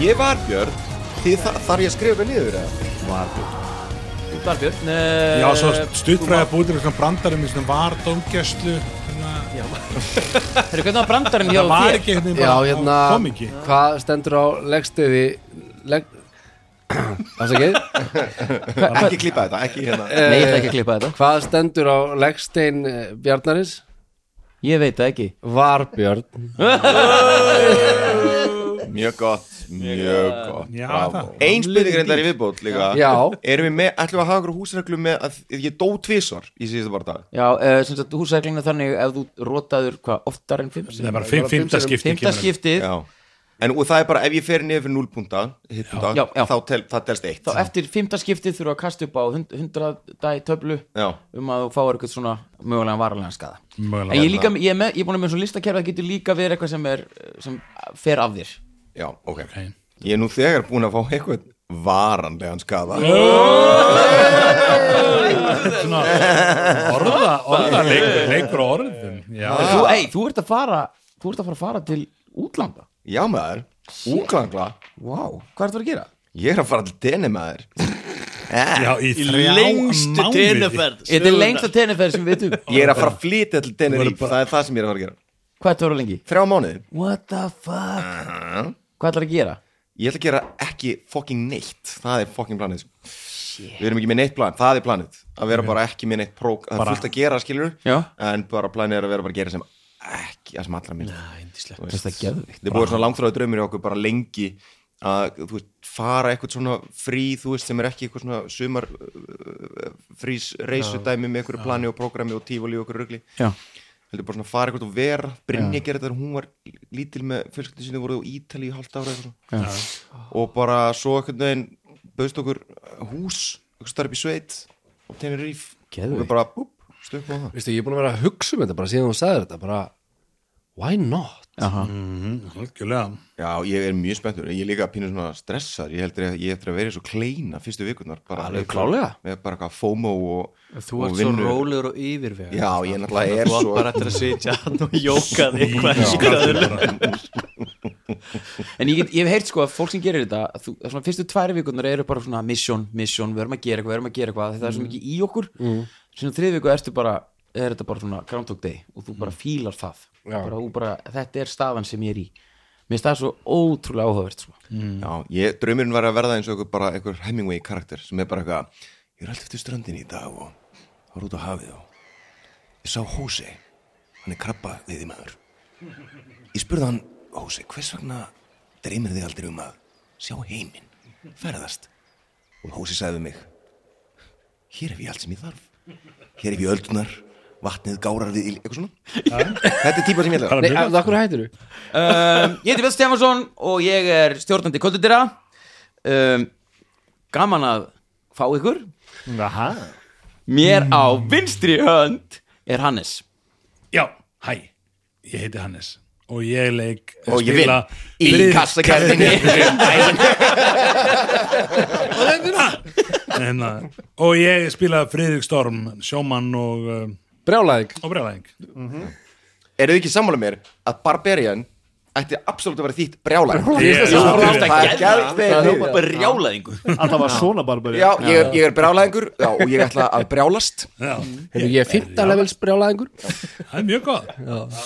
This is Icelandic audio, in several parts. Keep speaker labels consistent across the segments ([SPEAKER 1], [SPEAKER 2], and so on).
[SPEAKER 1] Ég var Björn Þið þa þarf ég að skrifa mig niður eða?
[SPEAKER 2] Varbjörn
[SPEAKER 3] Barbjörn
[SPEAKER 4] Já, svo
[SPEAKER 5] Eh,
[SPEAKER 4] stuttfræða búið til brandarum í svona var dómgæslu Það
[SPEAKER 3] Herru, hvernig var brandarinn hjá
[SPEAKER 4] var
[SPEAKER 3] þér?
[SPEAKER 4] ekki hérna
[SPEAKER 2] Já, hérna,
[SPEAKER 4] kom ekki
[SPEAKER 2] hvað stendur á leggstöði legg... Afsakið
[SPEAKER 1] Ekki klippa þetta, ekki hérna
[SPEAKER 3] Nei, ég ætla ekki að klippa þetta
[SPEAKER 2] Hvað stendur á leggstein eh, Bjarnaris?
[SPEAKER 3] Ég veit það ekki
[SPEAKER 2] Var Björn
[SPEAKER 1] Mjög gott, mjög gott
[SPEAKER 4] Já, það.
[SPEAKER 1] Einn spurning reyndar í viðbót líka
[SPEAKER 2] Já.
[SPEAKER 1] Erum við með, ætlum við að hafa okkur húsreglu með að ég dó tvisvar í síðustu barndag
[SPEAKER 3] Já, uh, sem sagt, húsæklingna þannig ef þú rotaður hvað, oftar en fimm
[SPEAKER 4] Það er bara fimm, fimmta skipti
[SPEAKER 3] Fymta skiptið,
[SPEAKER 1] Já En og það er bara, ef ég fer niður fyrir 0 púnta
[SPEAKER 3] Já, já.
[SPEAKER 1] Þá tel, það telst eitt
[SPEAKER 3] þá eftir fymta skiptið þurfa að kasta upp á hund- 100 dag töflu
[SPEAKER 1] Já,
[SPEAKER 3] um að þú fáir eitthvað svona mögulega varlega skada
[SPEAKER 4] Mögulegan.
[SPEAKER 3] En ég, er líka, ég, er með, ég er búin að með svona listakerfi að getur líka verið eitthvað sem, er, eh, sem fer af þér
[SPEAKER 1] já, ok Ég er nú þegar búin að fá eitthvað varanlegan skada Já
[SPEAKER 4] Orða, orða, leikur, leikur á orðum Já,
[SPEAKER 3] En þú, ei, þú ert að fara þú ert að fara að fara til útlanda
[SPEAKER 1] Já maður, úklangla
[SPEAKER 3] Vá, hvað ert að gera?
[SPEAKER 1] Ég er að fara til deni maður
[SPEAKER 4] já í þrjá
[SPEAKER 5] lengstu
[SPEAKER 4] mánuði
[SPEAKER 5] trenuferð
[SPEAKER 3] Þetta er lengst að tenniferð sem við veitum
[SPEAKER 1] Ég er að fara að flytja til deni ríf Það er það sem ég er að fara að gera
[SPEAKER 3] Hvað ert að vera lengi?
[SPEAKER 1] Þrjá mánuði
[SPEAKER 3] What the fuck? Hvað ætlar að gera?
[SPEAKER 1] Ég ætla að gera ekki fucking neitt Það er fucking planið sko. Við erum ekki með neitt plan, það er planið Að vera bara ekki með neitt prók Það er fullt að gera skilur
[SPEAKER 3] Já.
[SPEAKER 1] En bara planið er að vera bara að gera sem ekki Það sem allra minn
[SPEAKER 5] Ændislega
[SPEAKER 3] Þetta er geðvikt
[SPEAKER 1] Þið búið svona langþráðu draumur hjá okkur bara lengi að þú veist, fara eitthvað svona frí þú veist sem er ekki eitthvað svona sumar uh, frís reisudæmi með einhverju plani og prógrami og tífali og okkur rugli
[SPEAKER 3] Já,
[SPEAKER 1] heldur bara svona fara eitthvað og vera Brynja gerði þetta þegar hún var lítil með fjölskyldin sinni voruð á Ítali í hálft ára eitthvað svona. og bara svo einhvern veginn bauðst okkur hús eitthvað starf í sveit og tegni ríf
[SPEAKER 3] Geðveikt.
[SPEAKER 1] og við bara búp, stökkum á það
[SPEAKER 2] Veistu, ég er búin að vera að hugsa um þetta bara síðan þú sagði þetta bara, why not?
[SPEAKER 4] Algjörlega
[SPEAKER 1] Já, ég er mjög spenntur, ég er líka pínu svona stressar ég heldur að ég eftir að vera svo kleina fyrstu vikunar bara
[SPEAKER 3] Alveg klárlega.
[SPEAKER 1] með bara eitthvað FOMO og,
[SPEAKER 5] Þú
[SPEAKER 1] og
[SPEAKER 5] ert svo rólegur og yfirvega
[SPEAKER 1] Já, ég náttúrulega er
[SPEAKER 5] Þú átt
[SPEAKER 1] svo
[SPEAKER 5] bara eftir að sitja hann og jóka þig hvað er
[SPEAKER 3] En ég, get, ég hef heyrt sko að fólk sem gerir þetta að þú, að svona fyrstu tværi vikunar eru bara svona mission, mission, við erum að gera eitthvað, við erum að gera eitthvað þetta er svo mikið í okkur mm. sem þrið viku ertu bara, er þetta bara svona groundhog day og þú bara fílar það bara, og bara, þetta er stafan sem ég er í Mér finnst það svo ótrúlega áhugavert sko.
[SPEAKER 1] Já, ég, draumurinn var að verða eins og einhver bara einhver Hemingway karakter sem er bara eitthvað ég er alltaf eftir ströndin í dag og það var út á hafið og ég sá Hósi hann er krabba við því maður ég spurði hann Hósi, hvers vegna dreymir þig aldrei um að sjá heiminn, ferðast og Hósi sagði við mig hér hef ég allt sem ég þarf hér hef ég öldunar, vatnið gárar við ill- eitthvað svona þetta er típa sem ég ætla að vera.
[SPEAKER 2] Nei, af hverju hættir þú?
[SPEAKER 3] um, Ég heiti Björn Stefánsson og ég er stjórnandi koldutira um, Gaman að fá ykkur
[SPEAKER 4] Aha.
[SPEAKER 3] Mér á vinstri hönd er Hannes
[SPEAKER 4] Já, hæ, ég heiti Hannes og ég leik
[SPEAKER 1] Og ég vinn í
[SPEAKER 4] Brið-
[SPEAKER 1] kassakerðinni.
[SPEAKER 4] En, uh, hérna. og ég spila Friðrik Storm, sjómann og, uh,
[SPEAKER 2] Brjálæðing
[SPEAKER 4] og brjálæðing
[SPEAKER 1] eru þið ekki sammála mér að Barbarian ætti absolutt að vera þýtt brjálæg
[SPEAKER 4] Ég-
[SPEAKER 1] það er
[SPEAKER 2] Það
[SPEAKER 1] gæðvegt
[SPEAKER 2] hljómar
[SPEAKER 1] við
[SPEAKER 3] Brjálæðingur
[SPEAKER 5] Alltaf var svona barbari
[SPEAKER 1] Já, ég, er- ég er brjálæðingur já, og ég ætla að brjálast
[SPEAKER 4] Já,
[SPEAKER 2] Hefur ég 15 levels brjálæðingur?
[SPEAKER 4] það er mjög góð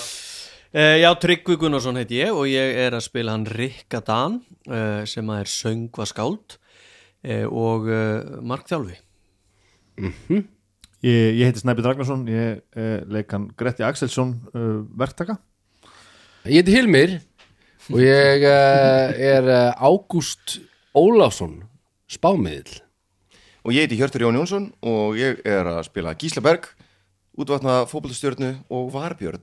[SPEAKER 5] Eh, Já, Tryggvi Gunnarsson heit ég og ég er að spila hann Rikka Dan eh, sem að er söngvaskáld eh, og eh, markþjálfi
[SPEAKER 6] Ég, ég heiti Snæbjörn Ragnarsson, ég eh, leik hann Gretti Axelsson uh, verktaka.
[SPEAKER 2] Ég heiti Hilmir og ég uh, er uh, Ágúst Ólafsson spámiðil
[SPEAKER 1] og ég heiti Hjörtur Jón Jónsson og ég er að spila Gíslaberg útvatna fókbaltastjörnu og Varbjörn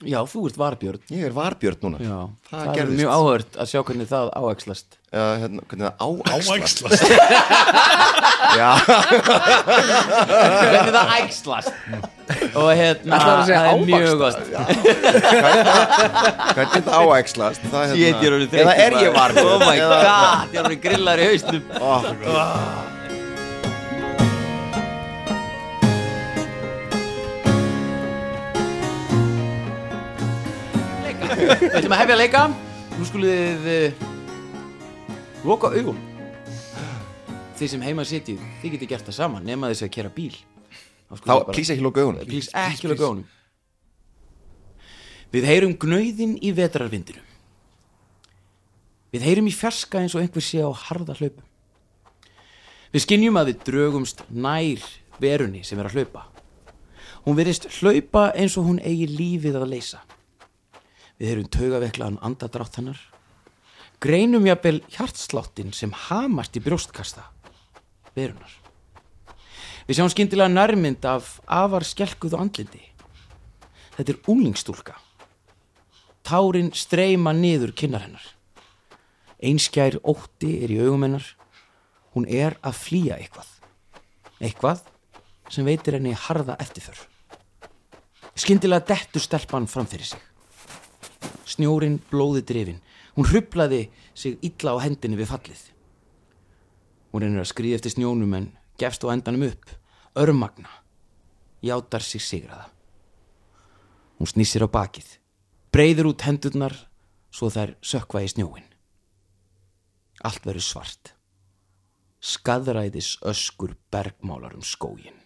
[SPEAKER 3] Já, þú ert varbjörn
[SPEAKER 1] ég er Varbjörn núna
[SPEAKER 3] Já,
[SPEAKER 1] það,
[SPEAKER 3] það, er
[SPEAKER 1] gerðist
[SPEAKER 3] mjög áhört að sjá hvernig það áækslast
[SPEAKER 1] uh, hérna, hvernig það áæksla
[SPEAKER 4] Áæksla
[SPEAKER 1] já,
[SPEAKER 3] Hvernig það ækslast Og hérna,
[SPEAKER 2] Ætlarðu að segja
[SPEAKER 3] það er mjög
[SPEAKER 2] ávaxta?
[SPEAKER 3] gott
[SPEAKER 1] hvernig það áækslast það, er hérna-
[SPEAKER 3] Shit, ég er orðinn
[SPEAKER 1] eða er
[SPEAKER 3] þreyttur, maður. Oh
[SPEAKER 1] ég Varbjörn
[SPEAKER 3] my
[SPEAKER 1] Eða-
[SPEAKER 3] god, ég er orðin grillar í hausnum Leika. Við ætlum að hefja að leika Nú skulum við eh, loka augun þið sem heima sitið, þið getið gert það saman nema þess að kera bíl
[SPEAKER 1] Þá, plís ekki lóka augunum
[SPEAKER 3] plís ekki loka augunum við heyrum gnauðin í vetrarvindinu við heyrum í fjarska eins og einhver sé á harða hlaupa við skinnjum að við drögumst nær verunni sem er að hlaupa hún verist hlaupa eins og hún eigi lífið að leysa við heyrum taugaveiklaðan andadrátt hennar greinum jafnvel hjartsláttin sem hamast í brjóstkasta verunar. Við sjáum skyndilega nærmynd af afar skelkuðu andlindi. Þetta er unglingstúlka. Tárin streyma niður kinnar hennar. Einskjær ótti er í augum hennar. Hún er að flýja eitthvað. Eitthvað sem veitir henni harða eftirför. Skyndilega dettur stelpan fram fyrir sig snjórin blóði drifin. Hún hruplaði sig illa á hendinni við fallið. Hún reynir að skrýða eftir snjónum en gefst á endanum upp, örmagna, játar sig sigraða. Hún snýsir á bakið, breyður út hendurnar svo þær sökva í snjóin. Allt verður svart. Skaðræðis öskur bergmálar um skógin.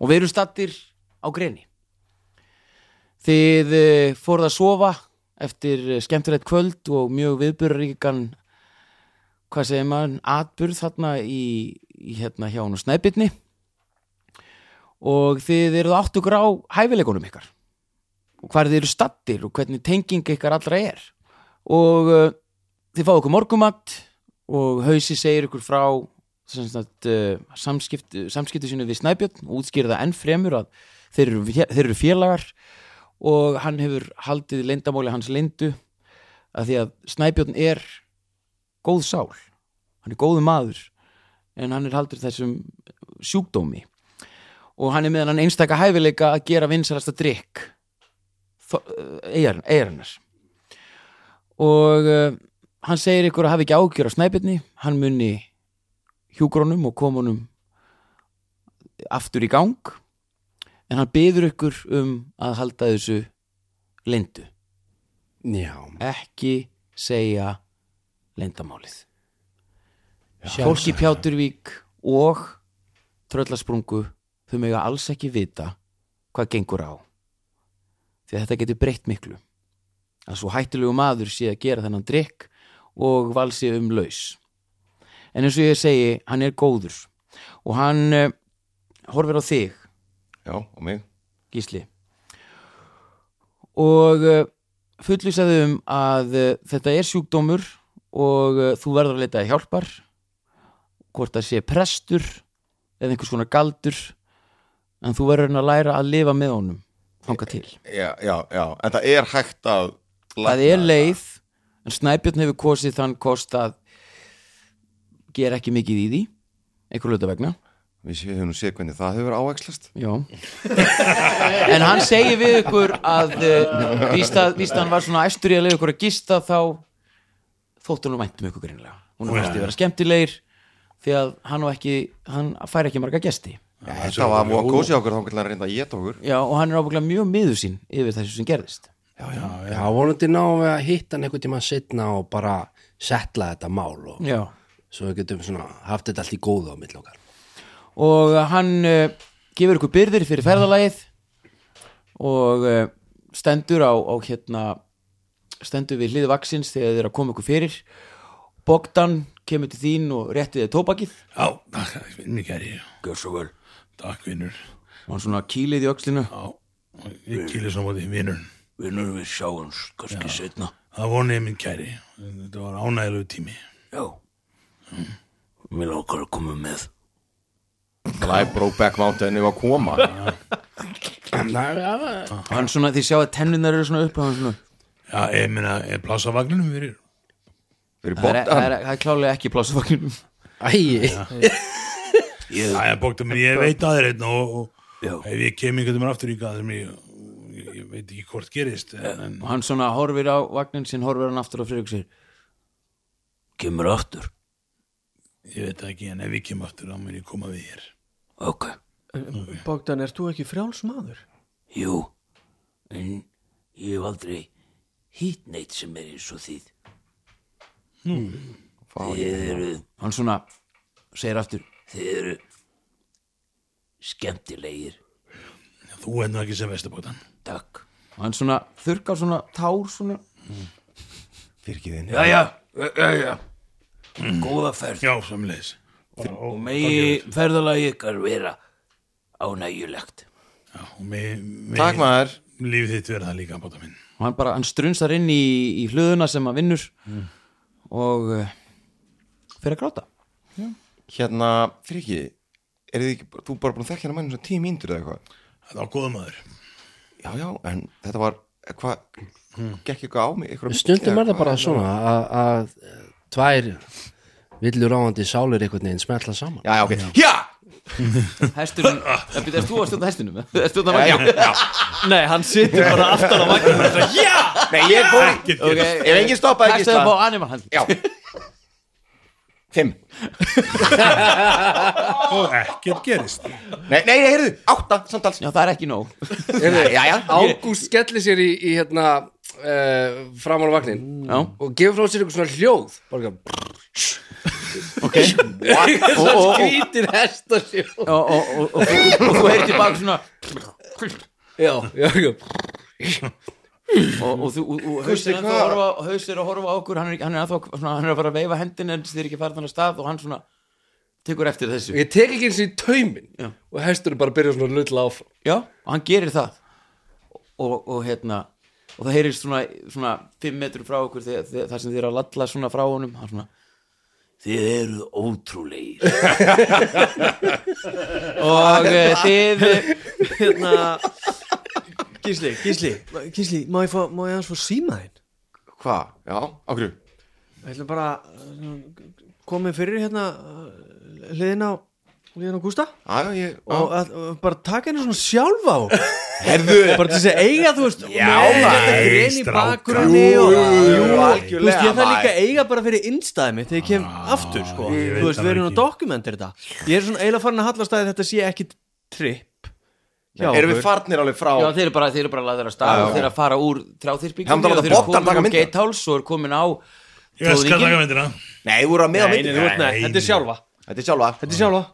[SPEAKER 3] Og við erum stattir á greni. Þið eh, fóruð að sofa eftir eh, skemmtilegt kvöld og mjög viðbyrðaríkan hvað segir maður, atburð þarna í, í hérna hjá hún og snæbyrni og þið eruð áttu grá hæfileikunum ykkar og hvar þið eru stattir og hvernig tenging ykkar allra er og uh, þið fáið okkur morgumat og hausi segir ykkur frá sem sagt, uh, samskipt, samskiptu sínu við Snæbjörn og útskýrða enn fremur að þeir eru, fé- þeir eru félagar og hann hefur haldið leyndamóli hans leyndu að því að Snæbjörn er góð sál hann er góðu maður en hann er haldur þessum sjúkdómi og hann er meðan hann einstaka hæfileika að gera vinsarasta drikk eigarnar eh, og uh, hann segir ykkur að hafa ekki ágjör á Snæbjörni hann muni hjúgrónum og komunum aftur í gang en hann byður ykkur um að halda þessu lindu
[SPEAKER 2] Já,
[SPEAKER 3] ekki segja lindamálið fólki í Pjáturvík og tröllasprungu þau mega alls ekki vita hvað gengur á því að þetta getur breytt miklu að svo hættulegu maður sé að gera þennan drikk og valsi um laus en eins og ég segi, hann er góður og hann uh, horfir á þig
[SPEAKER 1] Já, og mig
[SPEAKER 3] Gísli og uh, fullvísaðu um að uh, þetta er sjúkdómur og uh, þú verður að leita að hjálpar hvort það sé prestur eða einhvers konar galdur en þú verður að læra að lifa með honum þanga til
[SPEAKER 1] Já, já, já, en það er hægt að
[SPEAKER 3] það
[SPEAKER 1] lækna
[SPEAKER 3] er leið en Snæbjörn hefur kosið þann kost að gera ekki mikið í því einhver hluta vegna
[SPEAKER 1] þetta. Við séum nú séð hvernig það hefur áækslast
[SPEAKER 3] Já En hann segir við ykkur að eh, víst að víst að hann var svona æstur í að leiða ykkur að gista þá þótt hann væntum um ykkur greinilega Hún er fyrst að vera skemmtilegir því að hann, á ekki, hann fær ekki marga gesti
[SPEAKER 1] Já, Þetta var að kósi okkur þá hvernig að reynda að geta okkur
[SPEAKER 3] Já og hann er ábygglega mjög miður sín yfir þessu sem gerðist
[SPEAKER 2] já vonandi náum við að hitta hann einhvern tíma setna og bara setla þetta mál og
[SPEAKER 3] Já
[SPEAKER 2] svo við getum svona haft þetta allt í góðu á mill okkar.
[SPEAKER 3] Og hann uh, gefur ykkur byrðir fyrir ferðalagið og uh, stendur á, á hérna stendur við hliði vaksins þegar þeir eru að koma ykkur fyrir Bogdan kemur til þín og rétti þið tóbakið
[SPEAKER 4] Já, takk, vinnur kæri. Gjör svo vel. Takk, vinnur.
[SPEAKER 3] og hann svona kýlið í öxlinu
[SPEAKER 4] Já, ég kýli saman því vinnur.
[SPEAKER 7] Vinnur við sjáumst, kannski setna.
[SPEAKER 4] Það vonið minn kæri. Þetta var ánægilegu tími.
[SPEAKER 7] Já. Mér langar að koma með.
[SPEAKER 1] Live Brokeback Mountain er að koma
[SPEAKER 3] og hann svona, þið sjá að tennunar eru svona upp og hann svona,
[SPEAKER 4] Já, ég meina, er plássavagninum fyrir?
[SPEAKER 1] Fyrir
[SPEAKER 3] það er, það
[SPEAKER 1] Bogdan
[SPEAKER 3] er, það er klálega ekki plásavagninum
[SPEAKER 2] Æi,
[SPEAKER 4] Æja, bókta, menn ég veit að þér einn og, og
[SPEAKER 7] Já.
[SPEAKER 4] ef ég kem einhvern veginn aftur í gaður mig, ég, ég veit ekki hvort gerist, en, en
[SPEAKER 3] og hann svona horfir á vagnin sinn, horfir hann aftur á fyrir ykkur
[SPEAKER 7] Kemur aftur.
[SPEAKER 4] ég veit það ekki, en ef ég kem aftur, þá mun ég koma við hér.
[SPEAKER 7] Ok.
[SPEAKER 2] Eh,
[SPEAKER 5] Bogdan, ert þú ekki frjáls maður?
[SPEAKER 7] Jú. En ég hef aldrei hitt neitt sem er eins og þið. Þið eru,
[SPEAKER 3] hann svona segir aftur
[SPEAKER 7] þið eru skemmtilegir.
[SPEAKER 8] Þú er nú ekki sem vesturbótan
[SPEAKER 7] Takk.
[SPEAKER 3] og hann svona þurkar svona tár svona
[SPEAKER 1] Fyrkiðin
[SPEAKER 7] Já, já, já, já, já. Góða ferð
[SPEAKER 8] Já, samleis
[SPEAKER 7] og megi ferðalagi ykkar vera ánægjulegt.
[SPEAKER 8] og mig, mig,
[SPEAKER 1] Takk maður
[SPEAKER 8] líf þitt verða líka bóta minn
[SPEAKER 3] og hann bara, hann strunsar inn í, í hlöðuna sem hann vinnur og uh, fyrir að gráta
[SPEAKER 1] Hérna, fyrkiði Er þið ekki, þú bara búin að þekka hérna mænum svona tíu mínútur eða eitthvað
[SPEAKER 8] Það var góða maður
[SPEAKER 1] Já, já, en þetta var Hvað, gekk eitthvað á mig einhverja
[SPEAKER 2] Stundum
[SPEAKER 1] milli
[SPEAKER 2] er
[SPEAKER 1] eða
[SPEAKER 2] það bara
[SPEAKER 1] hvað?
[SPEAKER 2] svona að- að eh, tvær villur áhandi sálir einhvern veginn smetla saman
[SPEAKER 1] Já, já, ok, já,
[SPEAKER 3] hesturinn, það byrja, erst Eh, þú að stjórna hestinum Erst þú að stjórna vagnum?
[SPEAKER 5] Nei, hann situr bara aftan á vagnum og það, já,
[SPEAKER 1] nei, ég er búin
[SPEAKER 3] Ok,
[SPEAKER 1] Ef enginn stoppaði
[SPEAKER 3] Kastaðu
[SPEAKER 1] gíslan-
[SPEAKER 3] upp á animal hand
[SPEAKER 1] Já Fimm
[SPEAKER 8] og ekkert gerist
[SPEAKER 1] Nei, nei, nei, heyrðu, átta samtals
[SPEAKER 3] Já, það er ekki nóg
[SPEAKER 1] Já, já,
[SPEAKER 2] Ágúst skellir sér í, í hérna uh, framar á vagnin
[SPEAKER 3] Já,
[SPEAKER 2] og gefur frá sér eitthvað svona hljóð bara
[SPEAKER 3] ok
[SPEAKER 2] eitthvað
[SPEAKER 3] Ó, ó, ó.
[SPEAKER 2] svona skrítir hesta sér
[SPEAKER 3] Og, og, og, og, og, og þú heyrti bara svona
[SPEAKER 2] já, já, já,
[SPEAKER 3] Og, og þú, og, og haus er ennþá að horfa og Haus er að horfa á okkur Hann er, ekki- hann er, ennþá, svona, hann er að fara að veifa hendin En þið er ekki farið þannig að stað Og hann svona tekur eftir þessu
[SPEAKER 2] ég tek ekki eins og í taumin
[SPEAKER 3] Já.
[SPEAKER 2] og hestur bara byrja svona að lulla áfram
[SPEAKER 3] Já, og hann gerir það og, og hérna og það heyrist svona, svona 5 metrum frá okkur þegar, þegar, þar sem þið eru að lalla svona frá honum hann svona,
[SPEAKER 7] Þið eru ótrúlegir.
[SPEAKER 3] og eh, þið
[SPEAKER 5] hérna Gísli, Gísli, Gísli, má ég, fá, má ég aðeins fá síma þinn?
[SPEAKER 1] Hvað, já, á hverju
[SPEAKER 5] Ég ætla bara uh, komið fyrir hérna uh, hliðin á hliðin á Gústa
[SPEAKER 1] Já, já, ég
[SPEAKER 5] og að, uh, bara taka henni svona sjálf á
[SPEAKER 1] Herðu
[SPEAKER 5] bara til þess að eiga þú veist já,
[SPEAKER 8] nei,
[SPEAKER 5] reyni
[SPEAKER 8] strákar.
[SPEAKER 5] bakgrunni og
[SPEAKER 1] jú,
[SPEAKER 5] Þú veist, ég
[SPEAKER 1] algjörlega
[SPEAKER 5] þarf líka að eiga bara fyrir innstæði mitt þegar ég kem aftur, sko
[SPEAKER 8] ég veit
[SPEAKER 5] Þú veist,
[SPEAKER 8] það
[SPEAKER 5] við erum
[SPEAKER 8] ekki.
[SPEAKER 5] að dokumentir þetta Ég er svona eiginlega farin að hallast að þetta sé ekki tripp Já,
[SPEAKER 1] Erum við farnir alveg frá
[SPEAKER 3] Já, þeir eru bara, þeir eru bara laðir að stað
[SPEAKER 1] Já,
[SPEAKER 3] og
[SPEAKER 1] já.
[SPEAKER 3] þeir eru að fara úr hérna,
[SPEAKER 1] Hann
[SPEAKER 3] trjáþyrpingum
[SPEAKER 1] þarf að láta Bogdan taka
[SPEAKER 3] á
[SPEAKER 1] myndina.
[SPEAKER 3] geitháls og eru komin á
[SPEAKER 8] Ég skal
[SPEAKER 3] Þjóðríkin?
[SPEAKER 8] taka myndina
[SPEAKER 1] Nei, þú eru að með á
[SPEAKER 5] Nei, nei,
[SPEAKER 1] myndinni
[SPEAKER 5] þú veist, nei,
[SPEAKER 8] Nei,
[SPEAKER 5] þetta er sjálfa
[SPEAKER 1] Þetta er sjálfa
[SPEAKER 5] Þetta er sjálfa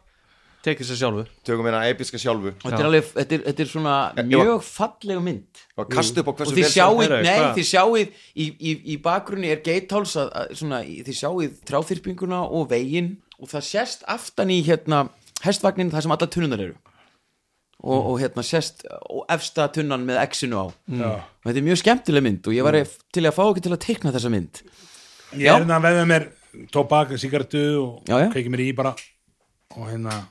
[SPEAKER 5] Tekir sér sjálfur
[SPEAKER 1] Tökum hérna episka sjálfu
[SPEAKER 3] og þetta er, alveg, þetta, er, þetta er svona mjög fallega mynd
[SPEAKER 1] Og kastu upp á
[SPEAKER 3] og
[SPEAKER 1] hversu
[SPEAKER 3] þið sjáið,
[SPEAKER 5] Heyrðu,
[SPEAKER 3] nei,
[SPEAKER 5] hvað?
[SPEAKER 3] þið sjáið í, í, í bakgrunni er geitháls að, að, svona, í- þið sjáið trjáþyrpinguna og veginn og það sést aftan í hérna, hestvagnin þar sem alla tunnunar eru og, og hérna sést og efsta tunnan með X-inu á
[SPEAKER 7] Mm.
[SPEAKER 3] og þetta er mjög skemmtileg mynd og ég var
[SPEAKER 1] Mm.
[SPEAKER 3] til að fá okkur til að teikna þessa mynd
[SPEAKER 8] Ég er hérna að veða mér tóbak, sigartu og
[SPEAKER 3] Já, já.
[SPEAKER 8] kveiki mér í bara og hérna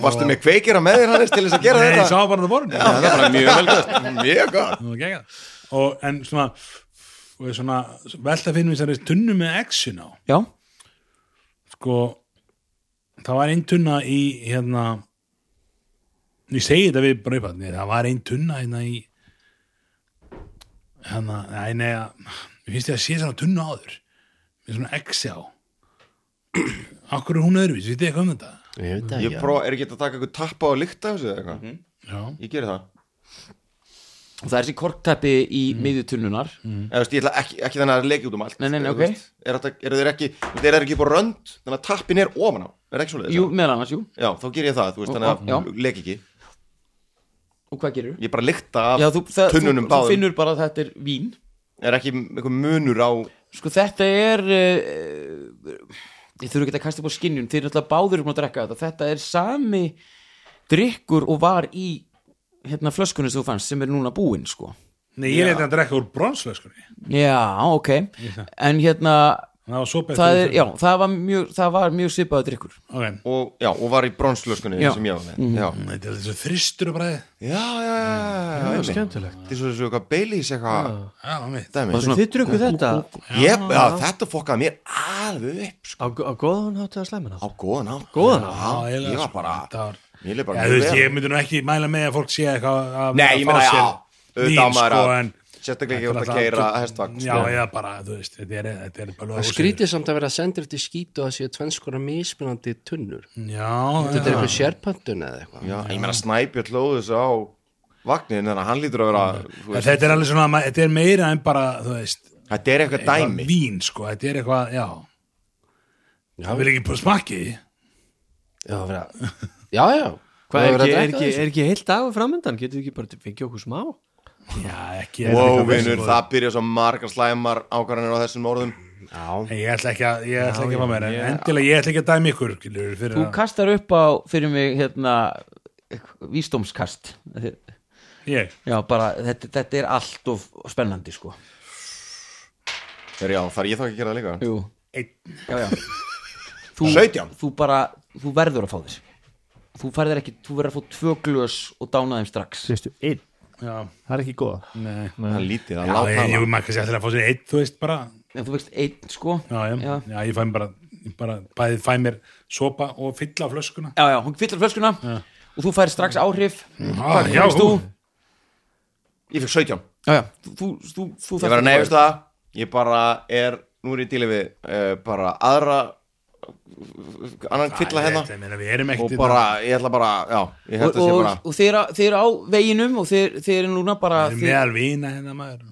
[SPEAKER 1] Varstu með kveikira með þér hannes til þess að gera
[SPEAKER 8] Nei, ég sá
[SPEAKER 1] þetta
[SPEAKER 8] bara það voru
[SPEAKER 1] Það er bara mjög vel gæst Mjög gott
[SPEAKER 8] Nú, geggjað. og en svona og ég svona velta finnum þessari tunnu með action á
[SPEAKER 3] já,
[SPEAKER 8] sko það var ein tunna í hérna ég segi þetta við bara upphætni það var ein tunna hérna í hérna nei, nei, ég finnst ég að sé svona tunnu áður með svona exi á akkur er hún öðruvís, vitið þið eitthvað um þetta
[SPEAKER 2] ég veit
[SPEAKER 1] Ég próf, er ekki hægt að taka eitthvað tappa og lykta þessu eða eitthvað
[SPEAKER 3] Mhm.
[SPEAKER 8] já,
[SPEAKER 1] Ég geri það
[SPEAKER 3] og það er þessi korktæpi í mm. miðju tunnunar
[SPEAKER 1] Eða, þú veist, Ég ætla ekki, ekki þannig að leikja út um allt
[SPEAKER 3] Nei, nei, nei,
[SPEAKER 1] Eða,
[SPEAKER 3] ok.
[SPEAKER 1] þú veist, Er þetta- eru þeir ekki, þú veist, eru þeir ekki bara rönd Þannig að tappin er ofan á Er ekki svoleiðis?
[SPEAKER 3] jú, meðal annars, jú,
[SPEAKER 1] Já, þá ger ég það, þú veist,
[SPEAKER 3] Ó,
[SPEAKER 1] þannig
[SPEAKER 3] já.
[SPEAKER 1] að leik ekki
[SPEAKER 3] og hvað gerir
[SPEAKER 1] Ég bara lykta af
[SPEAKER 3] Já, þú, það, þú,
[SPEAKER 1] tunnunum
[SPEAKER 3] þú
[SPEAKER 1] báðum
[SPEAKER 3] finnur bara að þetta er vín
[SPEAKER 1] Er ekki einhver munur á
[SPEAKER 3] Sko þetta er uh, Ég þurfi ekki að kasta upp á skinnjun Þið er náttúrulega báður um að drekka þetta Þetta er sami drykkur og var í hérna flöskunni sem þú fannst sem er núna búinn sko
[SPEAKER 8] nei, ég er hérna að drekka úr bronsflöskunni
[SPEAKER 3] Já, ok En hérna
[SPEAKER 8] það var svo betur
[SPEAKER 3] það, er, já, það, var mjög, það var mjög svipaða drykkur
[SPEAKER 8] okay.
[SPEAKER 1] og, já, og var í bronslöskunni
[SPEAKER 3] Já. Mhm.
[SPEAKER 1] sem ég var með mm. já.
[SPEAKER 8] þetta er þessu þristur og bræði
[SPEAKER 1] já, já, já, já skemmtilegt Þetta er svo þessu eitthvað Baileys eitthvað
[SPEAKER 8] já, mitt
[SPEAKER 1] dæmi
[SPEAKER 3] svona-
[SPEAKER 5] Þið drukku þetta
[SPEAKER 1] Ég, já, þetta fokkaði mér alveg upp sko,
[SPEAKER 5] á, á góðan hátu að slæmina
[SPEAKER 1] á góðan á
[SPEAKER 5] Góðan hátt.
[SPEAKER 1] Já,
[SPEAKER 8] eiginlega,
[SPEAKER 1] ég var
[SPEAKER 8] sko.
[SPEAKER 1] bara,
[SPEAKER 8] Það var-
[SPEAKER 1] mér leið
[SPEAKER 8] Já,
[SPEAKER 1] bara
[SPEAKER 8] þú
[SPEAKER 1] mjög
[SPEAKER 8] veist,
[SPEAKER 1] vel.
[SPEAKER 8] ég myndi nú ekki mæla með að fólk sé eitthvað að
[SPEAKER 1] Nei,
[SPEAKER 8] að
[SPEAKER 1] ég
[SPEAKER 8] fá
[SPEAKER 1] meina,
[SPEAKER 8] sér
[SPEAKER 1] já, auðvitað
[SPEAKER 8] vín,
[SPEAKER 1] á maður
[SPEAKER 8] sko,
[SPEAKER 1] að-
[SPEAKER 8] en-
[SPEAKER 1] sérstaklega ekki
[SPEAKER 8] Þetta er
[SPEAKER 1] út að
[SPEAKER 8] náttúrulega
[SPEAKER 1] keyra
[SPEAKER 8] algjör-
[SPEAKER 1] hestvagn,
[SPEAKER 8] Já,
[SPEAKER 1] sko.
[SPEAKER 8] já, bara, þú veist, þetta er, þetta er bara
[SPEAKER 2] það skrítið samt að vera sendur til skít og að séu tvennskora mismunandi tunnur
[SPEAKER 8] Já,
[SPEAKER 2] þetta er
[SPEAKER 8] já.
[SPEAKER 2] eitthvað sérpöntun eða eitthvað
[SPEAKER 1] Já, ég meina snæpjör hlóðu þessu á vagnin þannig að hann lítur að vera þú
[SPEAKER 8] En
[SPEAKER 1] veist,
[SPEAKER 8] þetta er alveg svona, ma- þetta er meira en bara, þú veist
[SPEAKER 1] Þetta er eitthvað dæmi
[SPEAKER 8] vín sko, þetta er eitthvað, já það vil ekki bara smakki
[SPEAKER 2] Já, það verið að Já, já
[SPEAKER 5] Hvað
[SPEAKER 2] Það
[SPEAKER 5] er
[SPEAKER 2] verið að
[SPEAKER 5] ekki,
[SPEAKER 2] drekka
[SPEAKER 5] er ekki,
[SPEAKER 2] þessu.
[SPEAKER 5] er ekki heilt dagur framöndan? Getur við ekki bara fengið okkur smá?
[SPEAKER 8] já, ekki
[SPEAKER 1] Wow,
[SPEAKER 8] ekki-
[SPEAKER 1] vinur, það byrja svo margar slæmar ákvarðanir á þessum orðum
[SPEAKER 2] Já,
[SPEAKER 8] Nei, ég ætla ekki að, ég ætla ekki að fá mér en endilega ég ætla ekki að dæmi ykkur skilur, fyrir
[SPEAKER 3] Þú
[SPEAKER 8] að-
[SPEAKER 3] kastar upp á fyrir mig hérna vísdómskast
[SPEAKER 8] ég,
[SPEAKER 3] Já, bara þetta, þetta er allt of spennandi sko
[SPEAKER 1] Þegar já, þarf ég þá ekki að gera það líka
[SPEAKER 3] Jú
[SPEAKER 8] einn,
[SPEAKER 3] já, já. Þú,
[SPEAKER 1] 17.
[SPEAKER 3] þú bara, þú verður að fá þér þú færðir ekki, þú verður að fá tvö glös og dána þeim strax
[SPEAKER 6] Sérstu, einn,
[SPEAKER 8] já,
[SPEAKER 6] það er ekki góða
[SPEAKER 8] nei
[SPEAKER 1] Það er lítið að
[SPEAKER 8] Já,
[SPEAKER 1] láta
[SPEAKER 8] ég,
[SPEAKER 1] hana
[SPEAKER 8] ég, maður kannski ætla að fá sér einn, þú veist, bara
[SPEAKER 3] en þú veist einn sko
[SPEAKER 8] Já, já, já.
[SPEAKER 3] Já.
[SPEAKER 8] ég fæ mér bara, ég bara bæði fæ mér sopa og fylla á flöskuna
[SPEAKER 3] já, já, hún fyllir flöskuna og þú færir strax áhrif
[SPEAKER 1] Mm,
[SPEAKER 8] ah,
[SPEAKER 3] já, þú,
[SPEAKER 1] Ég fikk 17
[SPEAKER 3] já, já, þú, þú, þú, þú
[SPEAKER 1] Ég verð að nefnist það Ég bara er, nú er ég dílið við uh, bara aðra annan kvilla hérna
[SPEAKER 8] ég, meina, Við erum
[SPEAKER 1] og
[SPEAKER 8] ekkert
[SPEAKER 1] bara, ég ætla bara, já ég
[SPEAKER 3] og,
[SPEAKER 1] held að sé
[SPEAKER 3] og,
[SPEAKER 1] bara
[SPEAKER 3] og þeir, a- þeir á veginum og þeir, þeir eru núna bara
[SPEAKER 8] Við erum
[SPEAKER 3] þeir,
[SPEAKER 8] meðal vina hérna maður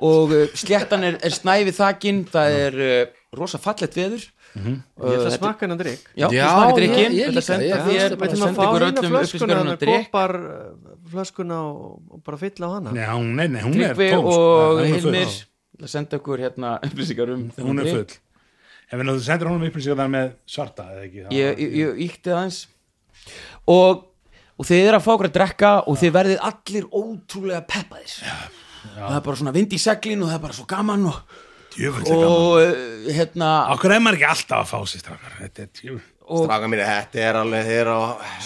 [SPEAKER 3] og uh, sléttan er, er snæfið þakin það er uh, rosa fallett veður
[SPEAKER 5] Ég ætla
[SPEAKER 3] þetta
[SPEAKER 5] að
[SPEAKER 3] er-
[SPEAKER 5] smaka hennan drikk
[SPEAKER 3] já,
[SPEAKER 2] Já,
[SPEAKER 3] þú smakar
[SPEAKER 2] ég-
[SPEAKER 3] drikkin
[SPEAKER 2] ég líka, ég
[SPEAKER 3] senda
[SPEAKER 2] finnst
[SPEAKER 3] þér
[SPEAKER 2] þetta
[SPEAKER 5] Við
[SPEAKER 2] bara-
[SPEAKER 3] senda
[SPEAKER 5] ætlum að fá
[SPEAKER 3] ykkur öllum upplýsingar
[SPEAKER 5] hérna flöskuna,
[SPEAKER 3] um
[SPEAKER 5] hann
[SPEAKER 3] drikk
[SPEAKER 5] kopar uh, flöskuna og, og bara fylla á hana
[SPEAKER 8] Nei, hún, nei, nei, hún er
[SPEAKER 3] Tryggvi
[SPEAKER 8] tóm sko.
[SPEAKER 3] og
[SPEAKER 8] Nei, hún er full.
[SPEAKER 3] Hilmir ætla að senda okkur hérna upplýsingar um
[SPEAKER 8] Já, Hún er full Ef við náttúrulega sendir honum upplýsingar þar með svarta eða ekki það
[SPEAKER 3] ég, ég, ég íkti það eins og, og þið eru að fá okkur að drekka og þið verðið allir ótrúlega peppaðir það er bara svona vind í seglin og það er bara svo gaman og,
[SPEAKER 8] Djöfull er gaman
[SPEAKER 3] og eh, hérna
[SPEAKER 8] Akkur er maður ekki alltaf að fá sér strákar Þetta er djöfull
[SPEAKER 1] Stráka mínu, þetta er alveg þeirra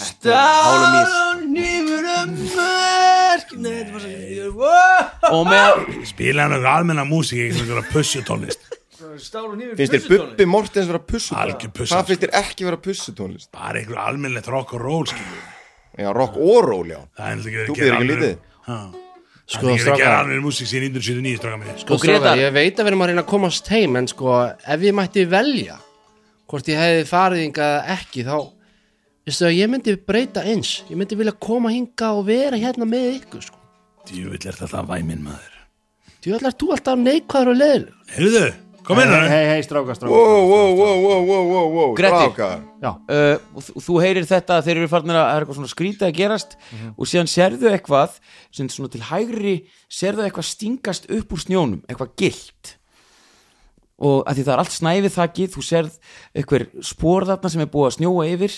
[SPEAKER 1] Þetta hálum ís
[SPEAKER 3] Staðan yfir um mörk Nei, þetta var svo Wow! og með
[SPEAKER 8] Spila hann okkur almenna músík ekki einhverja pussutónlist
[SPEAKER 5] Stálu nýfur
[SPEAKER 1] Finnst þér Bubbi Mortens vera
[SPEAKER 8] Algjör
[SPEAKER 1] pussutónlist?
[SPEAKER 8] pussar.
[SPEAKER 1] Hvað finnst þér ekki vera pussutónlist?
[SPEAKER 8] Bara einhverju almennlegt rock og roll skilur
[SPEAKER 1] Já, rock og ról, já
[SPEAKER 8] Það er náttúrulega
[SPEAKER 1] Þú
[SPEAKER 8] ekki
[SPEAKER 1] býður
[SPEAKER 8] verið
[SPEAKER 1] ekki
[SPEAKER 8] að
[SPEAKER 1] lítið
[SPEAKER 8] gera almenn
[SPEAKER 2] Sko,
[SPEAKER 8] Sko,
[SPEAKER 2] strákar.
[SPEAKER 8] strákar almenna músík síðan 1979 strákar minni
[SPEAKER 2] sko
[SPEAKER 3] Og
[SPEAKER 2] strákar,
[SPEAKER 3] Grétar.
[SPEAKER 2] ég veit að við erum að reyna að komast heim en sko, ef ég mætti velja hvort ég hefði farið hingað eða ekki þá, veistu að ég myndi breyta eins, ég myndi vilja koma hingað og vera hérna með ykkur sko.
[SPEAKER 8] Djöfull er þetta væminn maður
[SPEAKER 2] Þú ætlar þú alltaf neikvæður og leiðilegur
[SPEAKER 8] Heyrðu, kom hérna. inn hann
[SPEAKER 6] Hei, hei, stráka,
[SPEAKER 1] Wow,
[SPEAKER 6] stráka
[SPEAKER 1] wow, wow, wow, wow, wow, wow
[SPEAKER 3] Grettir.
[SPEAKER 1] strákar.
[SPEAKER 3] uh, og þú- þú heyrir þetta að þeir eru farnir að það er eitthvað svona skrýta að gerast og síðan sérðu eitthvað sem svona til hægri sérðu eitthvað stingast upp úr snjónum eitthvað gilt og að því það er allt snæfið þakið þú sérð eitthvað spór þarna sem er búið að snjóa yfir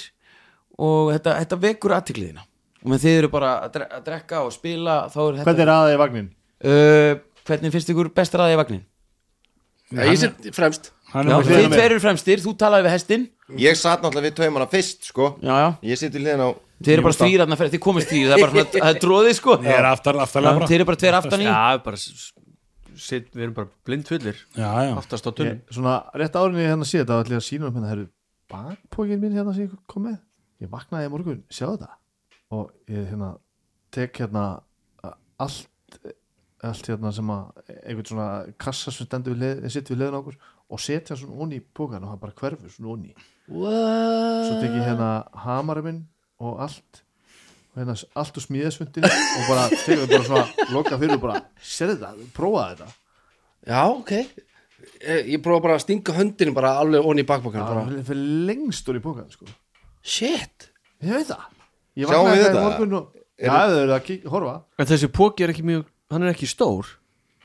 [SPEAKER 3] og þetta, þetta vekur aðtikliðina og með þið eru bara að, dre að drekka og spila þá er þetta
[SPEAKER 6] Hvernig er aðeins í vagnin?
[SPEAKER 3] uh, hvernig finnst ykkur best að ræða í vagnin?
[SPEAKER 2] Ég sé fremst
[SPEAKER 8] Hann
[SPEAKER 3] Já,
[SPEAKER 8] er
[SPEAKER 3] þið tveir eru fremstir, þú talaði við hestin
[SPEAKER 1] Ég satt náttúrulega við taumana fyrst, sko
[SPEAKER 3] já, já.
[SPEAKER 1] Ég siti liðin á
[SPEAKER 3] Þið eru bara stríðir þarna fyrir, þið komist stríðir, það er bara svona, það er dróðið sko
[SPEAKER 8] Ég er aftar, aftarlega bara
[SPEAKER 3] Þeir eru bara tveir aftan í
[SPEAKER 5] Já, við bara s- sit, Við erum bara blindfullir
[SPEAKER 8] Já, já
[SPEAKER 5] Aftast
[SPEAKER 6] Ég,
[SPEAKER 5] á tunnum
[SPEAKER 6] svona, rétt árinni hérna sé þetta ætla ég að sína um hérna, herru, bakpókin minn hérna sem ég kom með, ég vaknaði í morgun sjáðu þetta og ég hérna tek hérna a- allt allt hérna sem að einhvern svona kassa sem stendur við leið, sitt við leiðin okkur og setja svona onni í pókan og hann bara hverfur svona onni
[SPEAKER 2] What?
[SPEAKER 6] svo tek ég hérna hamara minn og allt og hérna s- allt úr smíðasvundin og bara tekur bara svona loka fyrir og bara, serðu þetta, prófaði þetta
[SPEAKER 2] Já, ok Ég, ég prófa bara að stinga höndinu bara alveg onni í bakbókan bara.
[SPEAKER 6] það fyrir lengst úr í pókan sko
[SPEAKER 2] Shit
[SPEAKER 6] Ég veit það Ég
[SPEAKER 1] Sjáum
[SPEAKER 6] vaknaði
[SPEAKER 1] við
[SPEAKER 6] það í
[SPEAKER 1] þetta?
[SPEAKER 6] morgun og Já, þau eru að kík, horfa
[SPEAKER 5] En þessi póki er ekki mjög, hann er ekki stór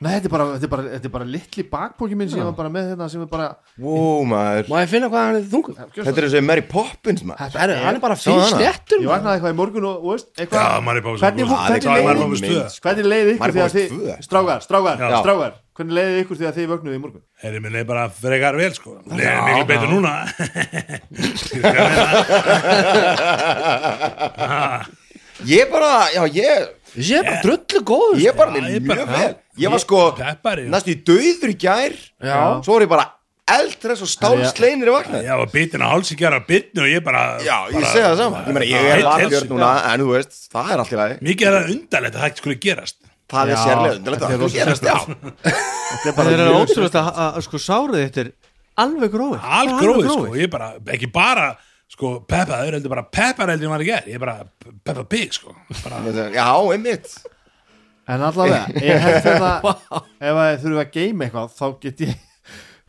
[SPEAKER 6] Nei, þetta er bara, þetta er bara, þetta er bara litli bakpóki minn sem ég var bara með hérna sem er bara
[SPEAKER 1] Wow, maður
[SPEAKER 2] Má ég finna hvað hann er þungur?
[SPEAKER 1] Þetta er þessi Mary Poppins, maður
[SPEAKER 2] Herru, hann er bara
[SPEAKER 1] Sjáðu
[SPEAKER 2] fyrir
[SPEAKER 1] hana.
[SPEAKER 2] sléttur
[SPEAKER 6] Ég vaknaði eitthvað í morgun og, og veist, eitthvað
[SPEAKER 8] Já, maður er bara
[SPEAKER 6] Hvernig fór-
[SPEAKER 1] Það er
[SPEAKER 6] hvernig
[SPEAKER 1] klár
[SPEAKER 6] leið-
[SPEAKER 8] Maður er bara með stuða.
[SPEAKER 1] mynd, sko.
[SPEAKER 6] Hvernig leiði ykkur
[SPEAKER 1] Maður
[SPEAKER 6] því
[SPEAKER 1] er
[SPEAKER 6] að
[SPEAKER 1] búin
[SPEAKER 6] þið
[SPEAKER 1] tvö.
[SPEAKER 6] Strágar, strágar,
[SPEAKER 1] Já.
[SPEAKER 6] strágar Hvernig leiði ykkur því að þið vögnuði í morgun
[SPEAKER 8] Herri, minn er bara frekar vel sko Nei, miklu betur núna Já,
[SPEAKER 1] Ég bara, já, ég
[SPEAKER 2] Ég er bara drullu góður
[SPEAKER 1] Ég bara, mér
[SPEAKER 8] ég
[SPEAKER 1] mjög
[SPEAKER 8] bara-
[SPEAKER 1] vel
[SPEAKER 8] Ég-
[SPEAKER 1] Ég var sko,
[SPEAKER 8] peppari.
[SPEAKER 1] næstu í döður í gær
[SPEAKER 2] Já.
[SPEAKER 1] Svo var ég bara eldres og stálsleinir í vaknaði
[SPEAKER 8] og bitin að hálsi gera bitni og ég bara
[SPEAKER 1] Já, ég
[SPEAKER 8] bara-
[SPEAKER 1] segja það saman Ég meina, ég er
[SPEAKER 8] Heill
[SPEAKER 1] varabjörn
[SPEAKER 8] heilsu.
[SPEAKER 1] núna, en þú veist, það er allt í lagi
[SPEAKER 8] Mikið er það undarlegt að það ekki skulle gerast
[SPEAKER 1] Það er
[SPEAKER 6] Já,
[SPEAKER 1] sérlega undirlegt
[SPEAKER 6] þetta er
[SPEAKER 1] að það
[SPEAKER 6] rosa-
[SPEAKER 1] gerast, já
[SPEAKER 6] Þetta er
[SPEAKER 5] Það
[SPEAKER 6] bara
[SPEAKER 5] er
[SPEAKER 6] mjög-
[SPEAKER 5] ótrúlega að, að, að sko sárið þetta er alveg gróið
[SPEAKER 8] Allt gróið sko, ég bara, ekki bara sko, peppaður, heldur bara peppar heldur en maður ekki er ég bara peppa pig sko bara,
[SPEAKER 1] Já, einmitt
[SPEAKER 6] en allavega ég held þetta ef að þurfum að geima eitthvað þá get ég